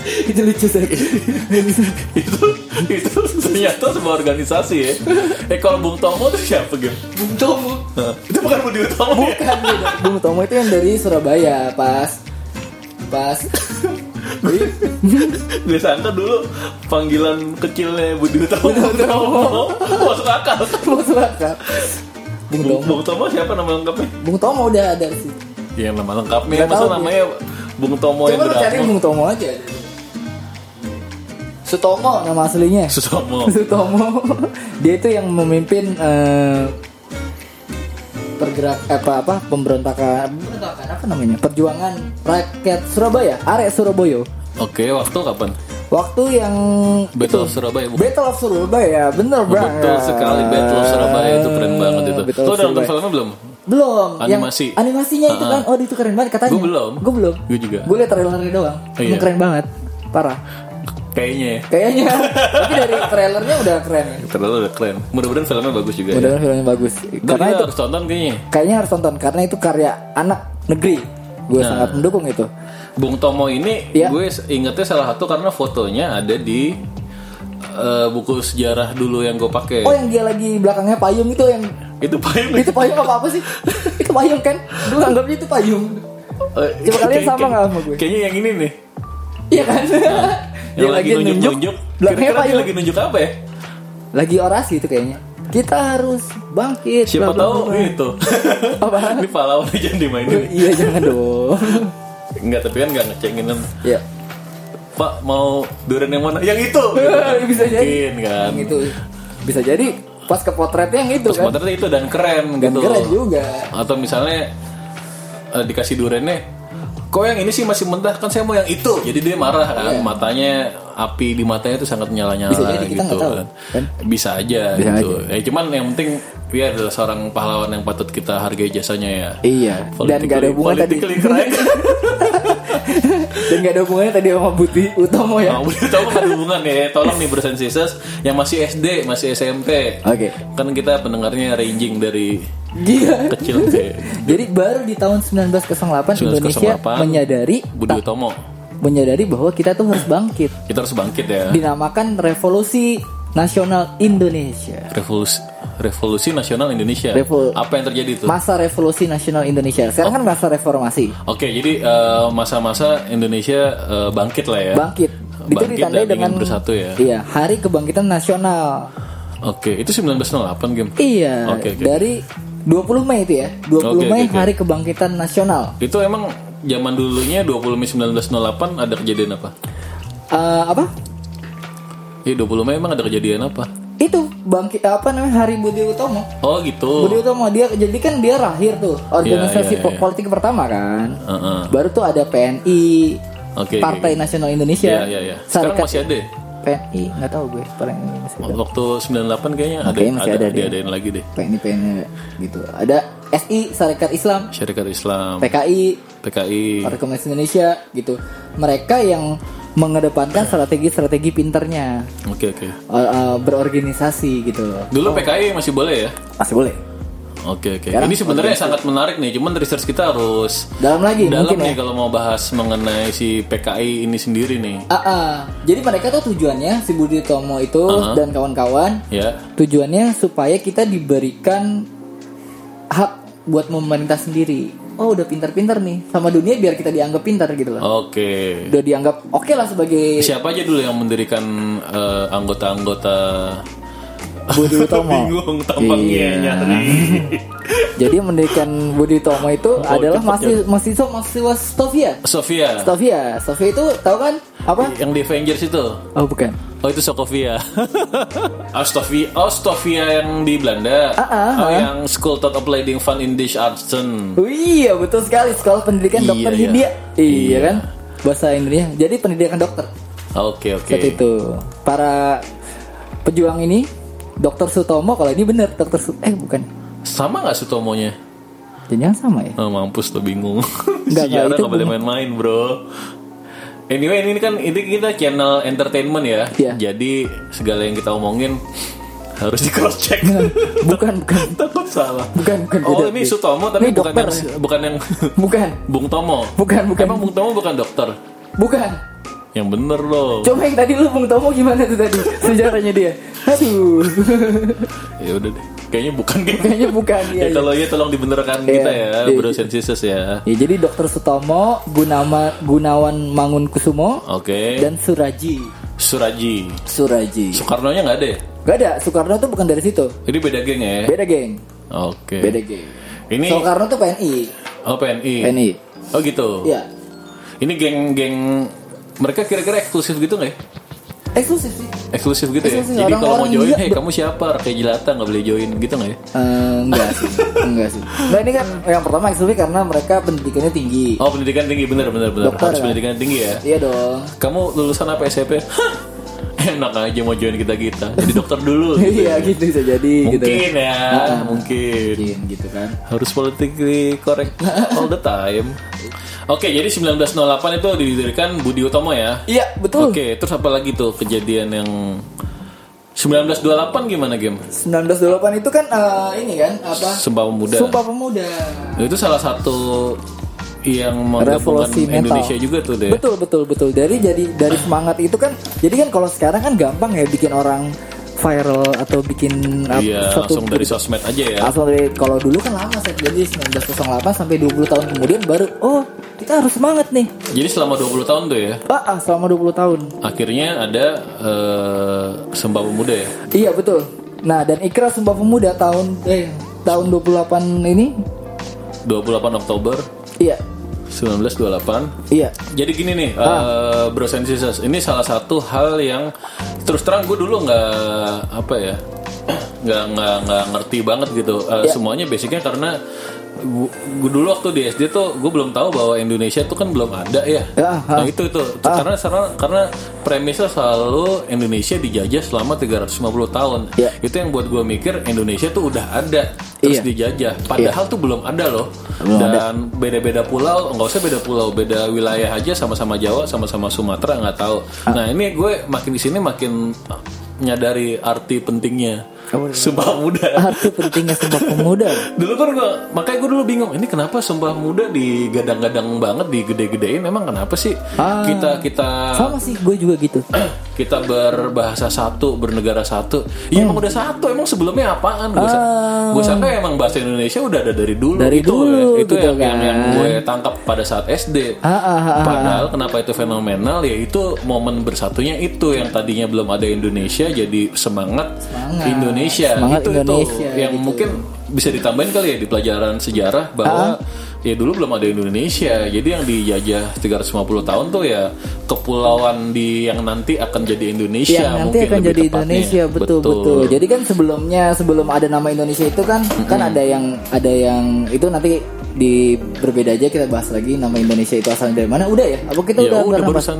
S2: itu lucu sih.
S1: itu itu ternyata sebuah organisasi ya. Eh kalau Bung Tomo itu siapa gitu? Bung Tomo. itu bukan Budi Utomo. Ya?
S2: Bukan, beda. Bung Tomo itu yang dari Surabaya pas pas
S1: Gue sangka kan dulu panggilan kecilnya Budi Utomo. Bung Tomo. Masuk akal.
S2: Bung Suraka. Bung
S1: Bung,
S2: Tomo.
S1: Bung Tomo siapa nama lengkapnya?
S2: Bung Tomo udah ada di situ.
S1: Iya nama lengkapnya.
S2: Nggak
S1: Masa
S2: tahu,
S1: namanya Bung Tomo Oh, yang
S2: Coba lu cari
S1: berapa?
S2: Bung Tomo aja. Sutomo nama aslinya.
S1: Susomo.
S2: Sutomo. Dia itu yang memimpin eh, pergerak eh, apa apa pemberontakan pemberontakan apa namanya perjuangan rakyat Surabaya arek Surabaya
S1: Oke, waktu kapan?
S2: waktu yang
S1: Battle of Surabaya bukan?
S2: Battle of Surabaya bener banget
S1: Betul sekali Battle of Surabaya itu keren banget itu.
S2: Battle
S1: Lo
S2: of
S1: udah nonton
S2: Surabaya.
S1: filmnya belum?
S2: belum yang
S1: Animasi.
S2: animasinya itu
S1: Ha-ha.
S2: kan oh itu keren banget katanya
S1: Gua belum.
S2: gue belum
S1: Gua juga.
S2: gue liat trailernya doang
S1: Oh, iya.
S2: Emang keren banget parah
S1: Kayaknya ya.
S2: kayaknya tapi dari trailernya udah keren ya
S1: Terlalu udah keren. Mudah-mudahan filmnya bagus juga ya.
S2: mudah-mudahan filmnya bagus karena
S1: Karena
S2: itu
S1: harus tonton kayaknya.
S2: kayaknya harus tonton karena itu karya anak negeri gue
S1: Nah.
S2: sangat mendukung itu
S1: Bung Tomo ini
S2: Iya.
S1: gue ingetnya salah satu karena fotonya ada di eh, buku sejarah dulu yang gue pakai.
S2: oh yang dia lagi belakangnya payung itu yang
S1: Itu paling
S2: itu payung apa apa sih itu payung kan gue anggapnya itu payung
S1: Eh,
S2: Coba kalian
S1: kayak-
S2: sama
S1: kayak-
S2: nggak sama gue?
S1: Kayaknya yang ini nih.
S2: iya kan
S1: Nah. Yang lagi nunjuk-nunjuk.
S2: belakangnya
S1: Kira-kira dia
S2: payung
S1: lagi nunjuk apa ya?
S2: lagi orasi itu kayaknya kita harus bangkit
S1: Siapa
S2: bla, bla,
S1: tahu
S2: bla, bla.
S1: itu.
S2: Apa?
S1: ini pahlawan aja yang dimainin.
S2: iya jangan dong
S1: Enggak, tapi kan enggak ngecengin kan.
S2: ya
S1: Pak mau durian yang mana? Yang itu. gitu kan.
S2: Bisa jadi.
S1: Mungkin kan.
S2: yang itu bisa jadi pas ke potretnya yang itu
S1: Terus
S2: kan
S1: motornya itu dan keren
S2: dan
S1: gitu.
S2: keren juga
S1: Atau misalnya eh, dikasih duriannya Kok yang ini sih masih mentah kan saya mau yang itu. Jadi dia marah kan matanya api di matanya itu sangat nyala-nyala
S2: Iya. Bisa jadi, kita
S1: gitu.
S2: nggak tahu,
S1: kan.
S2: kan?
S1: Bisa aja
S2: Bisa
S1: gitu. Ya cuman yang penting dia adalah seorang pahlawan yang patut kita hargai jasanya ya.
S2: iya dan gak ada hubungan tadi
S1: politically correct.
S2: dan gak ada hubungannya tadi sama Buti Utomo ya
S1: Oh, boleh tahu nggak ada hubungan ya? Tolong nih bersensises yang masih SD, masih SMP.
S2: Oke.
S1: Kan kita pendengarnya ranging dari
S2: gila
S1: kecil ke
S2: jadi baru di tahun 1908, Indonesia
S1: 1908,
S2: menyadari
S1: Budi
S2: tak-
S1: Utomo.
S2: menyadari bahwa kita tuh harus bangkit
S1: Kita harus bangkit ya.
S2: dinamakan revolusi nasional Indonesia
S1: Revolusi Revolusi Nasional Indonesia.
S2: Revol-
S1: Apa yang terjadi itu?
S2: masa revolusi nasional Indonesia sekarang kan masa reformasi
S1: Oke, jadi eh, masa-masa Indonesia eh, bangkit lah ya.
S2: bangkit
S1: Bangkit
S2: itu
S1: dan
S2: ditandai
S1: ingin
S2: dengan
S1: bersatu ya.
S2: iya hari kebangkitan nasional
S1: Oke, itu 1908 game.
S2: iya
S1: Oke, oke.
S2: dari 20 Mei itu ya 20
S1: Oke,
S2: Mei
S1: oke, oke.
S2: hari kebangkitan nasional
S1: Itu emang zaman dulunya 20 Mei 1908 ada kejadian apa?
S2: Eh, apa
S1: Iya, 20 Mei emang ada kejadian apa?
S2: itu bangkit apa namanya hari Budi Utomo
S1: Oh gitu.
S2: Budi Utomo dia jadi kan dia lahir tuh
S1: Iya,
S2: organisasi
S1: iya,
S2: po-
S1: iya.
S2: politik pertama kan
S1: Heeh.
S2: baru tuh ada PNI
S1: Oke,
S2: Partai
S1: oke, oke.
S2: Nasional Indonesia
S1: Iya, iya, iya. Sekarang
S2: Serikat-
S1: masih ada. Oh. ya?
S2: PNI nggak tahu gue paling ini masih ada.
S1: Waktu 98 kayaknya ada
S2: Kayaknya masih ada
S1: ada
S2: deh.
S1: diadain lagi deh.
S2: PNI PNI gitu ada SI Serikat Islam
S1: Syarikat Islam,
S2: PKI
S1: PKI.
S2: Partai Komunis Indonesia gitu mereka yang mengedepankan strategi-strategi pinternya
S1: Oke, oke.
S2: eh, eh, berorganisasi gitu loh
S1: Dulu PKI masih boleh ya?
S2: masih boleh
S1: Oke, oke.
S2: Sekarang
S1: Ini sebenarnya sangat menarik nih, cuman research kita harus
S2: dalam lagi
S1: dalam
S2: mungkin
S1: nih
S2: ya
S1: kalau mau bahas mengenai si PKI ini sendiri nih.
S2: Ah, ah. jadi mereka tuh tujuannya si Budi Tomo itu
S1: Uh-huh.
S2: dan kawan-kawan
S1: Ya.
S2: tujuannya supaya kita diberikan hak buat memerintah sendiri. Oh udah pintar-pintar nih sama dunia biar kita dianggap pintar gitu loh.
S1: Oke.
S2: Udah dianggap oke lah sebagai
S1: Siapa aja dulu yang mendirikan eh, anggota-anggota
S2: Budi Utomo.
S1: bingung tampangnya
S2: Iya.
S1: nyari.
S2: Jadi mendirikan Budi Utomo itu adalah
S1: cepet
S2: masih mahasiswa mahasiswa Stovia.
S1: Sofia.
S2: Stovia, Stovia itu tahu kan apa?
S1: Yang di Avengers itu.
S2: Oh bukan.
S1: Oh itu Sokovia. Ostovia, Ostovia yang di Belanda.
S2: Ah, ah,
S1: Oh,
S2: ah.
S1: yang School of Leading Fun in Dish Artsen.
S2: Oh, iya betul sekali sekolah pendidikan
S1: Iya,
S2: dokter
S1: iya.
S2: Hindia.
S1: Iya.
S2: Iya kan bahasa Indonesia. Jadi pendidikan dokter.
S1: Oke oke.
S2: Seperti itu para pejuang ini Dokter Sutomo kalau ini benar Dokter Su eh bukan
S1: Sama nggak Sutomonya?
S2: jangan sama ya
S1: Oh, mampus tuh bingung.
S2: Nggak,
S1: Sejarah
S2: nggak, itu
S1: nggak boleh
S2: bukan.
S1: main-main bro. Anyway ini kan ini kita channel entertainment ya.
S2: Iya.
S1: Jadi segala yang kita omongin harus di cross check.
S2: bukan bukan
S1: Takut salah.
S2: Iya. Bukan, bukan,
S1: Oh
S2: beda.
S1: ini Su Tomo tapi
S2: Ini
S1: bukan
S2: dokter.
S1: yang, bukan yang
S2: bukan
S1: Bung Tomo.
S2: Bukan, bukan.
S1: Emang Bung Tomo bukan dokter.
S2: bukan
S1: Yang bener loh.
S2: coba yang tadi lu Bung Tomo gimana tuh tadi sejarahnya dia aduh
S1: Ya udah deh. Kayaknya bukan gitu.
S2: kayaknya bukan
S1: ya,
S2: ya, ya.
S1: kalau iya tolong dibenerkan
S2: Iya,
S1: kita ya,
S2: iya,
S1: Bro
S2: iya.
S1: Sensisus ya.
S2: Ya, jadi Dokter Sutomo Gunama, Gunawan Mangunkusumo
S1: Oke.
S2: dan Suraji
S1: Suraji.
S2: Suraji
S1: Soekarno-nya nggak ada ya?
S2: Gak ada Soekarno tuh bukan dari situ
S1: Ini beda geng ya?
S2: beda geng
S1: Oke.
S2: beda geng
S1: Eh. Ini
S2: Soekarno tuh PNI
S1: oh PNI.
S2: PNI
S1: Oh gitu.
S2: ya
S1: Ini geng-geng mereka kira-kira eksklusif gitu nggak ya?
S2: eksklusif sih
S1: Eksklusif gitu ya.
S2: Eksklusif,
S1: Jadi kalau mau
S2: orang-orang
S1: join,
S2: gila.
S1: hey, kamu siapa? Kayak jelata nggak boleh join gitu nggak ya?
S2: Eh, enggak sih enggak sih nah ini kan yang pertama eksklusif karena mereka pendidikannya tinggi
S1: Oh pendidikan tinggi bener bener bener.
S2: Dokter,
S1: Harus
S2: kan?
S1: pendidikan tinggi ya.
S2: iya dong
S1: Kamu lulusan apa SMP? Hah, Enak aja mau join kita kita. Jadi dokter dulu. gitu
S2: iya
S1: ya.
S2: gitu bisa jadi gitu
S1: Mungkin ya, mungkin.
S2: Ah, mungkin gitu kan
S1: harus politically correct all the time. Oke, jadi 1908 itu didirikan Budi Utomo ya.
S2: iya betul
S1: Oke, terus apa lagi tuh kejadian yang 1928 gimana game?
S2: 1928 itu kan eh, ini kan apa
S1: Sumpah Pemuda.
S2: Sumpah Pemuda
S1: Itu salah satu yang menggabungkan
S2: Revolusi mental.
S1: Indonesia juga tuh deh.
S2: betul betul betul dari jadi
S1: Ah.
S2: dari semangat itu kan jadi kan kalau sekarang kan gampang ya bikin orang viral atau bikin ap-
S1: Iya,
S2: suatu
S1: langsung dari
S2: berita.
S1: sosmed aja ya.
S2: Langsung dari kalau dulu kan lama Seth. jadi 1908 sampai 20 tahun kemudian baru oh kita harus semangat nih
S1: Jadi selama 20 tahun tuh ya.
S2: ah, ah, selama 20 tahun
S1: Akhirnya ada eh, Sembah Pemuda ya.
S2: iya betul nah dan Ikra Sumpah Pemuda tahun eh tahun 28 ini
S1: 28 Oktober
S2: iya
S1: 1928.
S2: iya
S1: Jadi gini nih, eh, Bro and Sisters, ini salah satu hal yang terus terang gue dulu nggak apa ya, nggak nggak nggak ngerti banget gitu. Eh, Semuanya basicnya karena gue dulu waktu di SD tuh gue belum tahu bahwa Indonesia tuh kan belum ada ya.
S2: Ya,
S1: Nah itu itu karena karena karena premisnya selalu Indonesia dijajah selama 350 tahun.
S2: Ya.
S1: Itu yang buat gue mikir Indonesia tuh udah ada terus
S2: Iya.
S1: dijajah. Padahal tuh belum ada loh. Dan beda-beda pulau, nggak usah beda pulau, beda wilayah aja sama-sama Jawa, sama-sama Sumatera nggak tahu.
S2: Ah.
S1: Nah ini gue makin di sini makin nyadari arti pentingnya sumpah muda.
S2: arti pentingnya Sumpah Pemuda
S1: Dulu kan gue, makanya gue dulu bingung, ini kenapa sumpah muda digadang-gadang banget, digede-gedein, emang kenapa sih
S2: Ah.
S1: kita kita
S2: sama sih gue juga gitu
S1: kita berbahasa satu, bernegara satu. Ya emang udah satu, emang sebelumnya apaan? Gue sa- gue sangka emang bahasa Indonesia udah ada dari dulu.
S2: Ah. Dari
S1: gitu,
S2: dulu,
S1: ya. Itu
S2: gitu
S1: yang, yang,
S2: kan.
S1: yang gue tangkap pada saat SD.
S2: Ah, ah, ah, ah.
S1: Padahal kenapa itu fenomenal? Ya itu momen bersatunya itu yang tadinya belum ada Indonesia jadi semangat,
S2: Semangat.
S1: Indonesia.
S2: Semangat
S1: itu
S2: Indonesia,
S1: itu yang
S2: gitu.
S1: mungkin bisa ditambahin kali ya di pelajaran sejarah bahwa ya dulu belum ada Indonesia. Jadi yang dijajah 350 tahun tuh ya kepulauan di yang nanti akan jadi Indonesia
S2: yang Iya, nanti
S1: mungkin
S2: akan
S1: lebih
S2: jadi
S1: tepatnya.
S2: Indonesia betul, betul jadi kan sebelumnya sebelum ada nama Indonesia itu kan kan ada yang ada yang itu nanti di berbeda aja kita bahas lagi nama Indonesia itu asalnya dari mana udah ya apa kita
S1: Ya,
S2: udah,
S1: udah
S2: pernah bahas?
S1: barusan.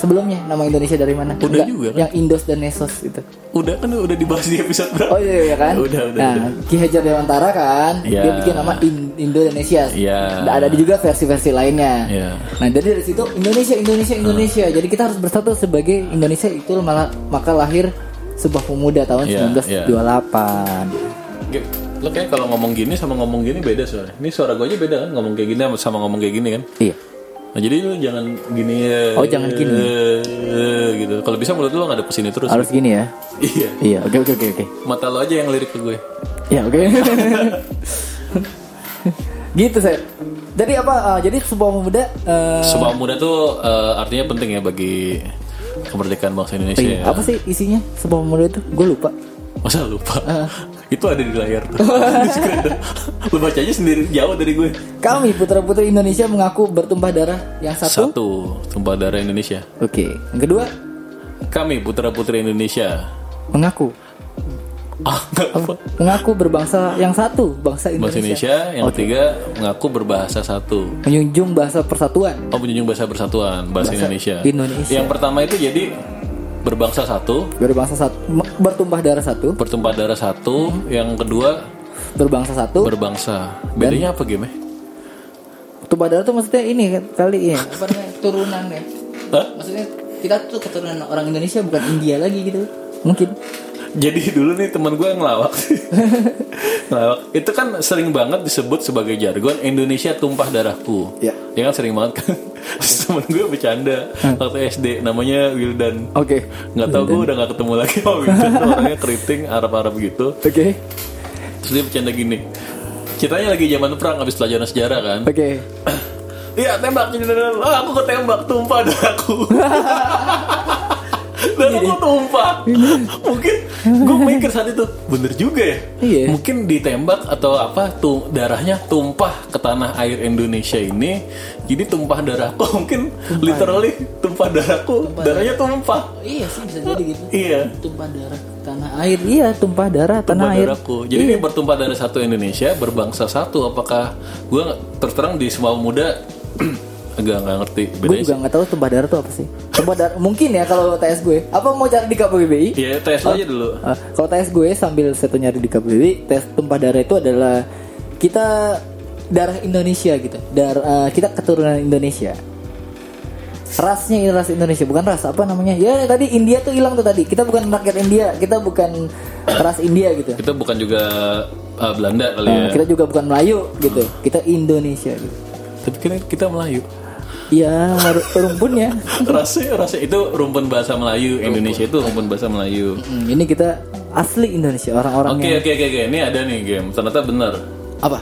S2: sebelumnya nama Indonesia dari mana
S1: Udah juga kan?
S2: yang Indos dan Nesos itu
S1: udah kan udah dibahas di episode berapa?
S2: oh iya, iya kan
S1: Udah udah.
S2: nah
S1: udah.
S2: Ki Hajar Dewantara kan
S1: Iya.
S2: dia bikin nama In- Indonesia
S1: Iya.
S2: Nah, ada juga versi-versi lainnya
S1: Iya.
S2: Nah jadi dari situ Indonesia Indonesia Indonesia. Jadi kita harus bersatu sebagai Indonesia itu malah maka lahir sebuah pemuda tahun
S1: Iya,
S2: 1928. iya.
S1: Gap, Gitu. Lo kayak kalau ngomong gini sama ngomong gini beda suara. Ini suara gue aja beda kan ngomong kayak gini sama- sama ngomong kayak gini kan.
S2: Iya.
S1: Nah, jadi lu jangan gini.
S2: Oh, jangan gini.
S1: eh, gitu. Kalau bisa mulut lu ngadep kesini terus.
S2: Harus gini ya.
S1: Iya.
S2: Iya. Oke oke oke oke.
S1: Mata lo aja yang lirik ke gue.
S2: Iya oke. gitu saya. Jadi apa? eh, jadi sebuah pemuda. eh,
S1: Sumpah muda tuh eh, artinya penting ya bagi kemerdekaan bangsa Indonesia.
S2: iya.
S1: ya.
S2: Apa sih isinya sebuah pemuda itu? Gue lupa.
S1: Masa lupa?
S2: Eh.
S1: Itu ada di layar tuh. Di screen tuh. Lu baca aja sendiri jauh dari gue.
S2: Kami putra putri Indonesia mengaku bertumpah darah yang satu.
S1: Satu, tumpah darah Indonesia.
S2: Oke. Yang kedua
S1: Kami putra-putri Indonesia.
S2: mengaku
S1: Ah, nggak apa.
S2: mengaku berbangsa yang satu bangsa Indonesia.
S1: Bahasa Indonesia, yang ketiga mengaku berbahasa satu.
S2: menjunjung bahasa persatuan.
S1: Oh, menjunjung bahasa persatuan, bahasa,
S2: Bahasa
S1: Indonesia.
S2: Indonesia.
S1: Yang pertama itu jadi berbangsa satu,
S2: Berbangsa satu, me- bertumpah darah satu,
S1: bertumpah darah satu,
S2: Hmm.
S1: yang kedua
S2: berbangsa satu.
S1: berbangsa. Bedanya apa game?
S2: iya. Tumpah darah tuh maksudnya ini kali ya, apa namanya, turunan ya.
S1: Hah?
S2: Maksudnya kita tuh keturunan orang Indonesia bukan India lagi gitu. Mungkin.
S1: Jadi dulu nih teman gue yang ngelawak Ngelawak Itu kan sering banget disebut sebagai jargon Indonesia tumpah darahku
S2: Ya.
S1: kan sering banget kan Terus Temen gue bercanda
S2: Hmm.
S1: Waktu SD namanya Wildan
S2: Oke.
S1: nggak tahu gue udah gak ketemu lagi sama Wildan tuh Orangnya keriting Arab-Arab gitu
S2: Oke.
S1: Terus dia bercanda gini Ceritanya lagi zaman perang Habis pelajaran sejarah kan
S2: Oke.
S1: Iya tembak ah, Aku ketembak tumpah darahku Dan aku tumpah Mungkin gue mikir saat itu Bener juga ya
S2: Iya.
S1: Mungkin ditembak atau apa tuh Darahnya tumpah ke tanah air Indonesia ini Jadi tumpah darahku Mungkin literally tumpah darahku Darahnya tumpah
S2: Iya sih bisa jadi gitu.
S1: Iya
S2: Tumpah darah tanah air. Iya, tumpah darah tanah
S1: tumpah
S2: air.
S1: darahku. Jadi
S2: Iya.
S1: ini bertumpah dari satu Indonesia, berbangsa satu. Apakah gue terterang di semua muda agak nggak ngerti
S2: Gue
S1: bedanya
S2: juga
S1: sih.
S2: nggak tahu tumpah darah tuh apa sih. Tumpah darah mungkin ya kalau TS gue. Apa mau cari di KPBI?
S1: Iya, tes aja dulu.
S2: Eh, kalau tes gue sambil saya tuh nyari di KBBI, tes tumpah darah itu adalah kita darah Indonesia gitu. Dar, eh, kita keturunan Indonesia. Rasnya ini ras Indonesia, bukan ras apa namanya? Ya tadi India tuh hilang tuh tadi. Kita bukan rakyat India, kita bukan ras India gitu.
S1: Kita bukan juga uh, Belanda kali ya.
S2: Eh, kita juga bukan Melayu gitu. Kita Indonesia gitu.
S1: Tapi kan kita Melayu.
S2: Ya, mar- rumpunnya.
S1: rasanya rasanya itu rumpun bahasa Melayu. Indonesia itu rumpun bahasa Melayu.
S2: Hmm, ini kita asli Indonesia orang-orang
S1: Oke
S2: yang
S1: oke oke oke. Ini ada nih game. Ternyata benar. Ah,
S2: apa?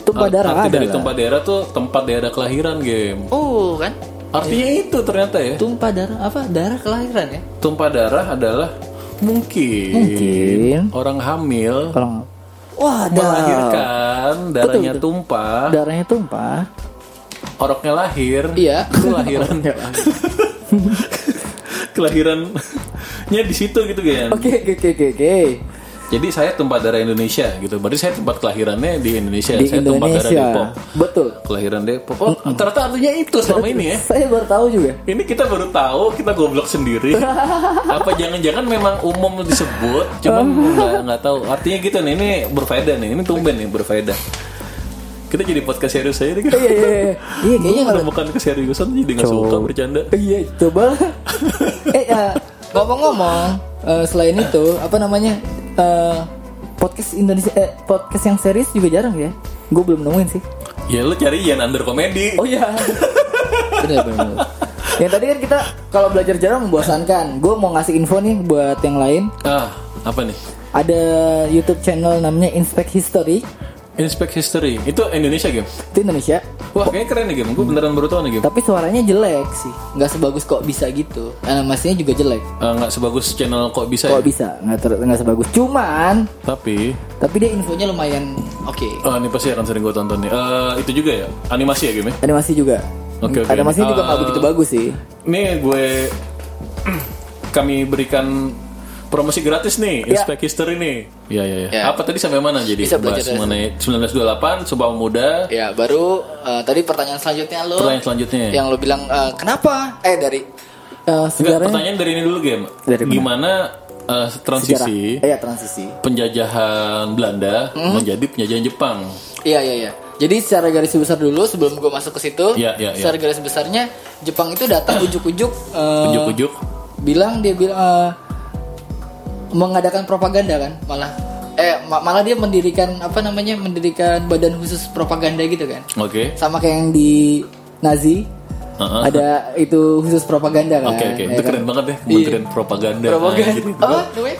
S2: Tumpah darah
S1: Arti dari
S2: adalah-
S1: tempat daerah tuh tempat daerah kelahiran game.
S2: Oh, kan?
S1: Artinya itu ternyata ya.
S2: Tumpah darah apa? Darah kelahiran ya?
S1: Tumpah darah adalah mungkin,
S2: Mungkin.
S1: orang hamil
S2: Iya. Kalau Wah, darah.
S1: melahirkan darahnya
S2: betul.
S1: tumpah
S2: Darahnya tumpah.
S1: oroknya lahir
S2: Iya.
S1: kelahiran kelahirannya di situ gitu kan
S2: Oke, oke, oke, oke, oke.
S1: jadi saya tempat darah Indonesia gitu berarti saya tempat kelahirannya di Indonesia Ya,
S2: Di
S1: saya tempat darah
S2: Indonesia.
S1: Depok
S2: Betul.
S1: kelahiran Depok oh ternyata artinya itu selama ini ya
S2: Saya baru tahu juga.
S1: ini kita baru tahu kita goblok sendiri apa jangan-jangan memang umum disebut cuman
S2: Oh.
S1: nggak nggak tahu artinya gitu nih ini berfaedah nih ini tumben nih berfaedah kita jadi podcast serius aja deh kan?
S2: Iya, iya, iya. Iya, kayaknya kalau
S1: menemukan keseriusan jadi nggak suka bercanda
S2: Iya, coba. eh, ya, ngomong-ngomong, eh, selain itu, apa namanya? eh, podcast Indonesia eh, podcast yang serius juga jarang ya. Gue belum nemuin sih.
S1: ya lu cari Ian under komedi
S2: Oh iya. bener, bener, bener. Yang tadi kan kita kalau belajar jarang membosankan. Gue mau ngasih info nih buat yang lain.
S1: ah apa nih
S2: Ada YouTube channel namanya Inspect History
S1: Inspect History itu Indonesia game
S2: itu Indonesia.
S1: wah kayaknya keren nih game gue beneran baru tahu nih game
S2: Tapi suaranya jelek sih. Nggak sebagus kok bisa gitu. Animasinya juga jelek.
S1: Eh, nggak sebagus channel kok bisa
S2: Kok
S1: ya?
S2: bisa? Nggak ter- nggak sebagus. Cuman,
S1: tapi
S2: tapi dia infonya lumayan oke.
S1: oh, ini pasti akan sering gue tonton nih Eh, itu juga ya animasi ya game ya
S2: Animasi juga.
S1: Oke, oke.
S2: Animasinya juga nggak
S1: Eh,
S2: begitu bagus sih.
S1: Nih gue kami berikan promosi gratis nih
S2: Ya.
S1: Inspect History nih. Iya iya iya.
S3: Ya.
S1: Apa tadi sampai mana jadi?
S3: Bisa
S1: Bahas
S3: belajar dari-
S1: mengenai 1928 Sumpah Pemuda.
S3: Ya baru eh, tadi pertanyaan selanjutnya lo
S1: Pertanyaan selanjutnya.
S3: yang lo bilang eh, kenapa? Eh
S2: Eh,
S3: dari
S1: Enggak,
S2: sejarahnya
S1: pertanyaan dari ini dulu game.
S2: Dari mana?
S1: Gimana eh,
S2: sejarah. Hmm?
S1: transisi
S2: Eh, ya, transisi.
S1: penjajahan Belanda menjadi penjajahan Jepang?
S3: Iya iya iya. Jadi secara garis besar dulu sebelum gue masuk ke situ,
S1: Iya, iya, iya.
S3: secara garis besarnya Jepang itu datang ujuk-ujuk eh,
S1: Ujuk-ujuk.
S3: bilang dia bilang eh, mengadakan propaganda kan malah eh ma- malah dia mendirikan apa namanya mendirikan badan khusus propaganda gitu kan
S1: Oke.
S2: Sama kayak yang di Nazi.
S1: Heeh.
S2: Ada itu khusus propaganda kan.
S1: Oke oke.
S2: ya
S1: Itu
S2: kan?
S1: keren banget deh Kementerian Propaganda.
S3: Iya. propaganda.
S1: Anjir,
S3: Oh,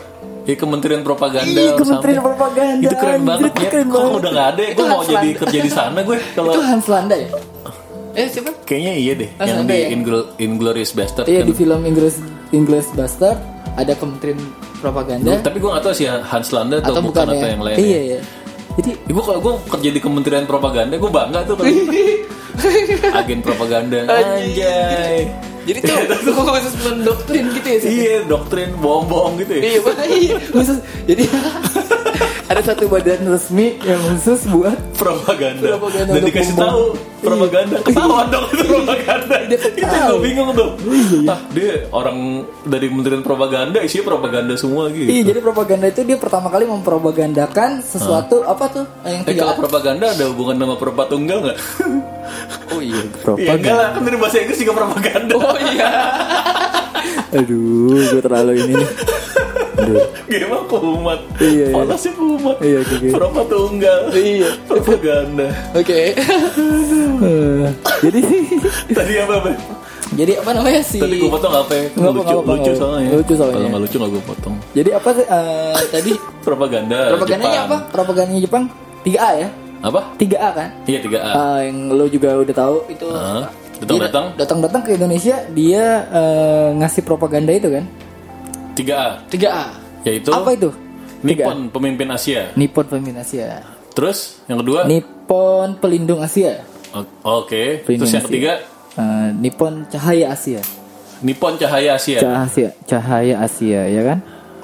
S1: Iya Kementerian Propaganda.
S2: Ih,
S1: or
S2: Iya, Kementerian
S1: something.
S2: Propaganda,
S1: Itu keren
S2: anjir,
S1: banget
S2: itu
S1: ya.
S2: keren
S1: Kok
S2: banget.
S1: udah nggak ada? ya?
S3: Itu
S1: Gue mau
S3: Hans
S1: jadi
S3: Landa.
S1: kerja di sana gue. Kalau
S3: itu Hans Landa ya? Eh siapa?
S1: kayaknya iya deh.
S3: Hans
S1: yang
S3: Landa
S1: di
S3: ya?
S1: Ingl- Inglourious Bastard.
S2: Iya di film Inggris Inggris Bastard ada Kementerian Propaganda
S1: Tapi gue nggak tahu sih Hans Landa atau, bukan, atau
S2: ya?
S1: yang lain.
S2: Iya iya. Jadi
S1: Gue kalau gue kerja di Kementerian Propaganda, gue bangga tuh kalau gitu. agen propaganda. Anjay.
S3: Jadi tuh itu khusus mendoktrin gitu ya? Sid?
S2: Iya.
S1: Iya, doktrin bohong-bohong gitu ya.
S3: Iya, Pak. Iya. Khusus jadi
S2: ada satu badan resmi yang khusus buat
S1: propaganda.
S2: Propaganda
S1: dan
S2: untuk Iya.
S1: dikasih
S2: membuang.
S1: tahu propaganda ketahuan dong itu propaganda
S2: Iya,
S1: itu gue bingung tuh ah dia orang dari kementerian propaganda isinya propaganda semua gitu
S2: Iya, jadi propaganda itu dia pertama kali mempropagandakan sesuatu apa tuh yang
S1: eh
S2: tidak
S1: kalau propaganda ada hubungan sama perempat tunggal nggak
S3: Oh iya,
S1: Iya enggak lah kan dari bahasa Inggris juga propaganda oh iya
S2: Aduh, gue terlalu ini nih.
S1: gimana kumat
S2: Iya, iya.
S1: panas sih kumat
S2: Iya, oke, oke.
S1: perempat tunggal
S3: Iya.
S1: propaganda
S3: Oke.
S2: jadi
S1: tadi apa Bay?
S2: jadi apa namanya sih?
S1: tadi gue potong apa ya Kan
S2: Iya.
S1: lucu
S2: Nggak apa, nggak apa,
S1: lucu
S2: nggak apa.
S1: soalnya ya.
S2: Lucu soalnya.
S1: kalau nggak lucu nggak gue potong
S2: Jadi apa sih eh, tadi
S1: propaganda
S2: propagandanya
S1: Jepang.
S2: apa? Propagandanya Jepang 3A ya?
S1: apa
S2: 3A kan?
S1: iya 3A
S2: Eh, yang lo juga udah tahu itu
S1: Hah? Ah, Datang-datang?
S2: datang datang ke Indonesia dia eh, ngasih propaganda itu kan
S1: 3A
S3: 3A.
S1: yaitu
S2: apa itu
S1: Nippon pemimpin Asia.
S2: Nippon pemimpin Asia
S1: Terus yang kedua
S2: Nippon pelindung Asia
S1: O- Oke.
S2: Pelindung
S1: Terus yang
S2: Asia.
S1: ketiga
S2: Eh, Nippon cahaya Asia
S1: Nippon Cahaya Asia.
S2: cahaya cahaya Asia ya kan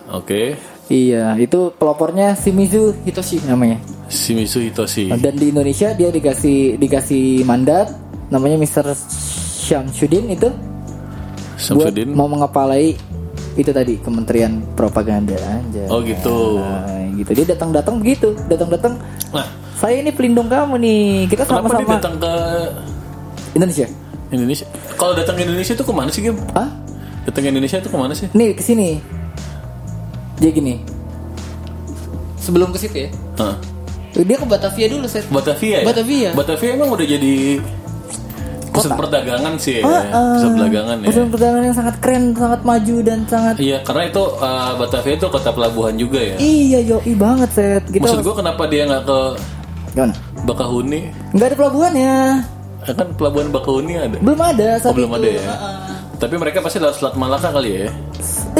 S1: Oke.
S2: iya itu pelopornya Shimizu Hitoshi namanya
S1: Shimizu Hitoshi.
S2: Nah, dan di Indonesia dia dikasih dikasih mandat namanya Mr. Syamsuddin itu buat
S1: Samsudin.
S2: mau mengepalai itu tadi Kementerian Propaganda aja
S1: Oh gitu.
S2: gitu dia datang-datang begitu datang-datang
S1: Nah,
S2: saya ini pelindung kamu nih kita
S1: kenapa dia
S2: sama-sama
S1: datang ke
S2: Indonesia
S1: Indonesia? Kalau datang ke Indonesia itu kemana sih, Gem?
S2: Hah?
S1: Datang ke Indonesia itu kemana sih?
S2: nih kesini jadi gini
S3: Sebelum ke situ ya.
S1: Hah.
S3: Dia ke Batavia dulu, Seth.
S1: Batavia ya?
S3: Batavia.
S1: Batavia emang udah jadi pusat perdagangan sih ya.
S2: Ah,
S1: pusat perdagangan ya.
S2: Pusat perdagangan yang sangat keren sangat maju dan sangat
S1: Iya, karena itu eh, Batavia itu kota pelabuhan juga ya.
S2: iya gitu. yoi banget set kita
S1: Maksud gua kenapa dia nggak ke
S2: gimana
S1: Bakahuni?
S2: nggak ada pelabuhannya
S1: Eh, Kan pelabuhan Bakahuni ada.
S2: belum ada
S1: Oh,
S2: saat
S1: belum
S2: itu.
S1: ada ya. Tapi mereka pasti lewat Selat Malaka kali ya.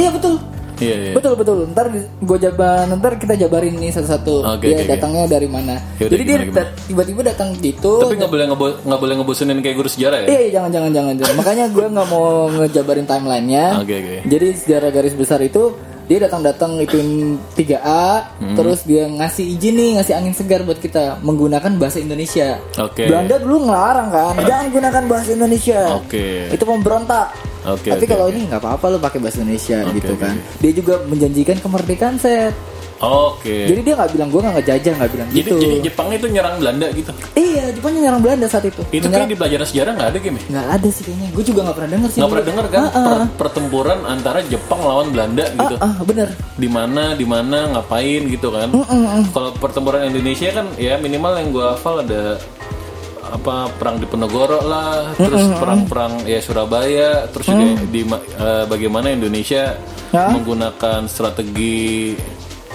S2: iya betul
S1: Iya, iya.
S2: Betul betul. Ntar gue jabar, ntar kita jabarin nih satu-satu.
S1: Oke, oke,
S2: dia
S1: oke.
S2: datangnya dari mana?
S1: Yaudah,
S2: Jadi dia
S1: gimana, gimana?
S2: dat- tiba-tiba datang gitu.
S1: Tapi nggak boleh ngebo- nggak boleh ngebosenin kayak guru sejarah ya.
S2: Iya, iya, jangan jangan jangan jangan. Makanya gue nggak mau ngejabarin timelinenya.
S1: Oke, oke.
S2: Jadi sejarah garis besar itu dia datang-datang itu 3A,
S1: Hmm.
S2: terus dia ngasih izin nih, ngasih angin segar buat kita menggunakan bahasa Indonesia.
S1: Oke.
S2: Belanda dulu ngelarang kan, jangan gunakan bahasa Indonesia.
S1: Oke.
S2: Itu pemberontak.
S1: Oke, oke,
S2: Tapi kalau
S1: oke.
S2: ini nggak apa-apa lo pakai bahasa Indonesia
S1: Oke,
S2: gitu
S1: oke,
S2: kan. Dia juga menjanjikan kemerdekaan set.
S1: Oke.
S2: Jadi dia nggak bilang gue nggak ngejajah, nggak bilang
S1: Jadi,
S2: gitu.
S1: jadi Jepang itu nyerang Belanda gitu.
S2: Iya, Jepang yang nyerang Belanda saat
S1: Itu
S2: itu. Menyerang-
S1: kayak di pelajaran sejarah nggak ada game ya?
S2: nggak ada sih kayaknya gue juga nggak pernah denger sih
S1: Nggak pernah
S2: dulu.
S1: dengar kan
S2: ah, ah,
S1: per- pertempuran antara Jepang lawan Belanda gitu.
S2: ah, bener
S1: Di mana, di mana, ngapain gitu kan? Kalau pertempuran Indonesia kan ya minimal yang gua hafal ada apa perang di Penegoro lah, terus perang-perang ya Surabaya, terus juga di ma- eh, bagaimana Indonesia
S2: Ya.
S1: menggunakan strategi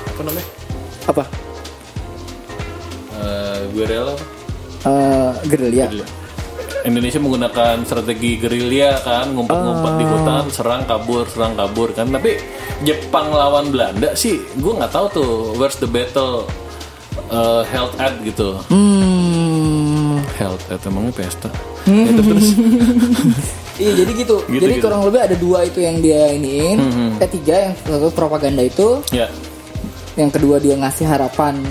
S1: apa namanya?
S2: apa
S1: Eh, gue rela apa?
S2: Eh, gerilya
S1: Iya. Indonesia menggunakan strategi gerilya kan ngumpet-ngumpet di hutan serang kabur serang kabur kan tapi Jepang lawan Belanda sih gue nggak tahu tuh where's the battle eh, held at gitu
S2: hmm
S1: held at emangnya pesta Ya, terus- terus
S2: iya jadi gitu,
S1: Gitu,
S2: jadi
S1: gitu. Mm-hmm.
S2: kurang lebih ada dua itu yang dia iniin ketiga yang satu propaganda itu
S1: ya
S2: yang kedua dia ngasih harapan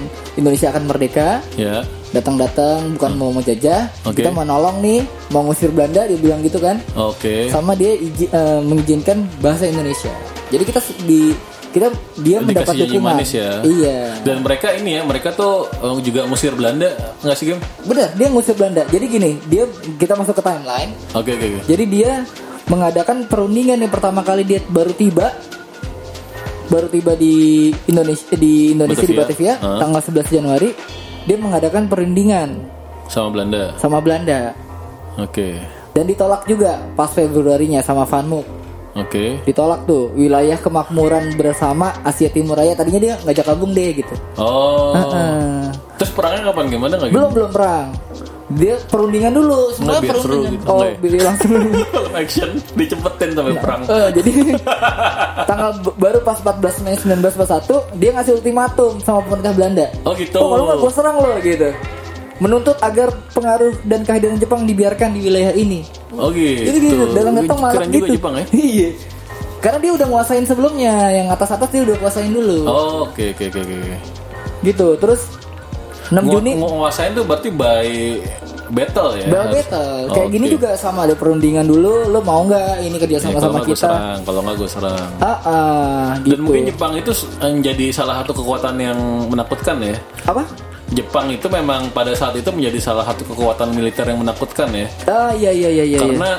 S2: Indonesia akan merdeka
S1: ya
S2: datang-datang bukan mau menjajah
S1: Hmm. Oke.
S2: kita mau nolong nih mau ngusir Belanda dia bilang gitu kan
S1: oke
S2: sama dia iji- eh, mengizinkan bahasa Indonesia jadi kita se- di kita dia mendapat
S1: dikasih janji
S2: dukungan
S1: manis ya
S2: iya
S1: dan mereka ini ya mereka tuh eh, juga musir Belanda nggak sih game
S2: Bener, dia ngusir Belanda. Jadi gini, dia kita masuk ke timeline.
S1: oke oke oke.
S2: Jadi dia mengadakan perundingan yang pertama kali dia baru tiba baru tiba di Indonesia di Indonesia di
S1: Batavia.
S2: Batavia
S1: Heeh.
S2: tanggal 11 Januari dia mengadakan perundingan
S1: sama Belanda
S2: sama Belanda
S1: oke
S2: dan ditolak juga pas Februarinya sama Vanmuk
S1: oke
S2: ditolak tuh wilayah kemakmuran bersama Asia Timur Raya tadinya dia ngajak gabung deh gitu
S1: oh
S2: Heeh.
S1: terus perangnya kapan gimana nggak gitu
S2: belum belum perang dia perundingan dulu semua
S1: biar seru
S2: perundingan
S1: gitu,
S2: oh
S1: enggak ya?
S2: biar langsung
S1: Kalau action dicepetin sampai perang.
S2: Eh, jadi tanggal b- baru pas 14 Mei 1941 dia ngasih ultimatum sama pemerintah Belanda.
S1: Oh, gitu.
S2: Oh, kalau nggak gue serang lo gitu. Menuntut agar pengaruh dan kehadiran Jepang dibiarkan di wilayah ini.
S1: Oh gitu.
S2: Jadi gitu, dalam datang malah
S1: Keren
S2: gitu.
S1: juga Jepang ya.
S2: Iya. Karena dia udah nguasain sebelumnya, yang atas-atas dia udah kuasain dulu.
S1: Oh, oke oke oke oke.
S2: gitu terus 6
S1: Ngu-
S2: Juni
S1: ngu- nguasain tuh berarti by battle ya.
S2: Bell battle kayak gini juga sama ada perundingan dulu lo mau nggak ini kerja sama sama
S1: Gue
S2: kita
S1: serang, Iya, kalau nggak gue serang.
S2: ah, ah,
S1: Dan
S2: gitu
S1: mungkin Jepang itu s- menjadi salah satu kekuatan yang menakutkan ya.
S2: apa
S1: Jepang itu memang pada saat itu menjadi salah satu kekuatan militer yang menakutkan ya.
S2: ah iya iya iya iya iya.
S1: karena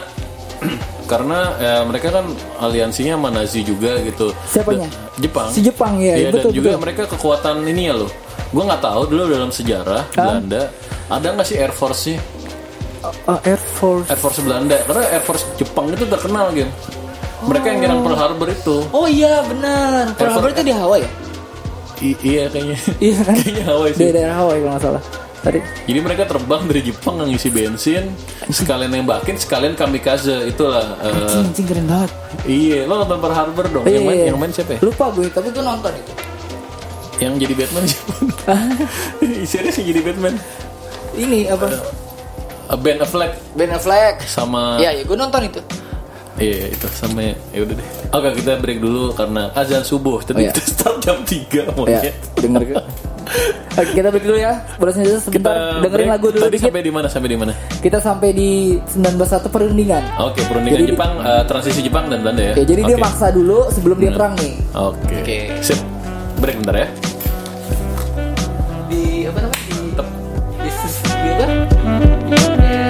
S1: karena eh, mereka kan aliansinya sama Nazi juga gitu.
S2: Siapanya?
S1: Dan- Jepang.
S2: Si Jepang, ya,
S1: Iya,
S2: betul,
S1: dan juga
S2: betul.
S1: mereka kekuatan ini ya loh. Gue nggak tahu dulu dalam sejarah Belanda ada nggak sih Air Force sih
S2: Ah, Air Force
S1: Air Force Belanda? Karena Air Force Jepang itu terkenal gitu. Mereka yang nyerang Pearl Harbor itu.
S2: oh iya benar Pearl
S1: Force-
S2: Harbor itu di Hawaii ya
S1: I- iya kayaknya.
S2: iya kan
S1: kayaknya Hawaii
S2: di
S1: sih.
S2: daerah Hawaii kalau nggak salah tadi
S1: Jadi mereka terbang dari Jepang ngisi bensin, sekalian nembakin, sekalian kamikaze itulah. eh,
S2: anjing keren banget
S1: iya, lo nonton Pearl Harbor dong. Yang
S2: Iya.
S1: main, yang main siapa ya?
S2: lupa gue tapi gue nonton itu
S1: yang jadi Batman siapa? Serius yang jadi Batman?
S2: ini apa
S1: A Ben Affleck
S2: Ben Affleck
S1: sama
S3: Iya, ya, gue nonton itu.
S1: iya itu sama ya udah deh. Oke kita break dulu karena azan subuh
S2: Oh,
S1: tadi
S2: iya.
S1: kita start jam 3
S2: ya
S1: monyet.
S2: denger gue. Oke, kita break dulu ya. Brosnya sebentar. Dengerin
S1: break.
S2: lagu dulu
S1: Tadi
S2: dikit.
S1: sampai di mana sampai di mana?
S2: Kita sampai di 191 perundingan.
S1: Oke perundingan
S2: Jadi-
S1: Jepang eh, transisi Jepang dan Belanda ya.
S2: Oke, jadi dia
S1: Oke.
S2: maksa dulu sebelum dia perang nih.
S1: Oke.
S3: Oke.
S1: Sip. Break bentar ya.
S3: Di apa namanya? Di, di, di, apa?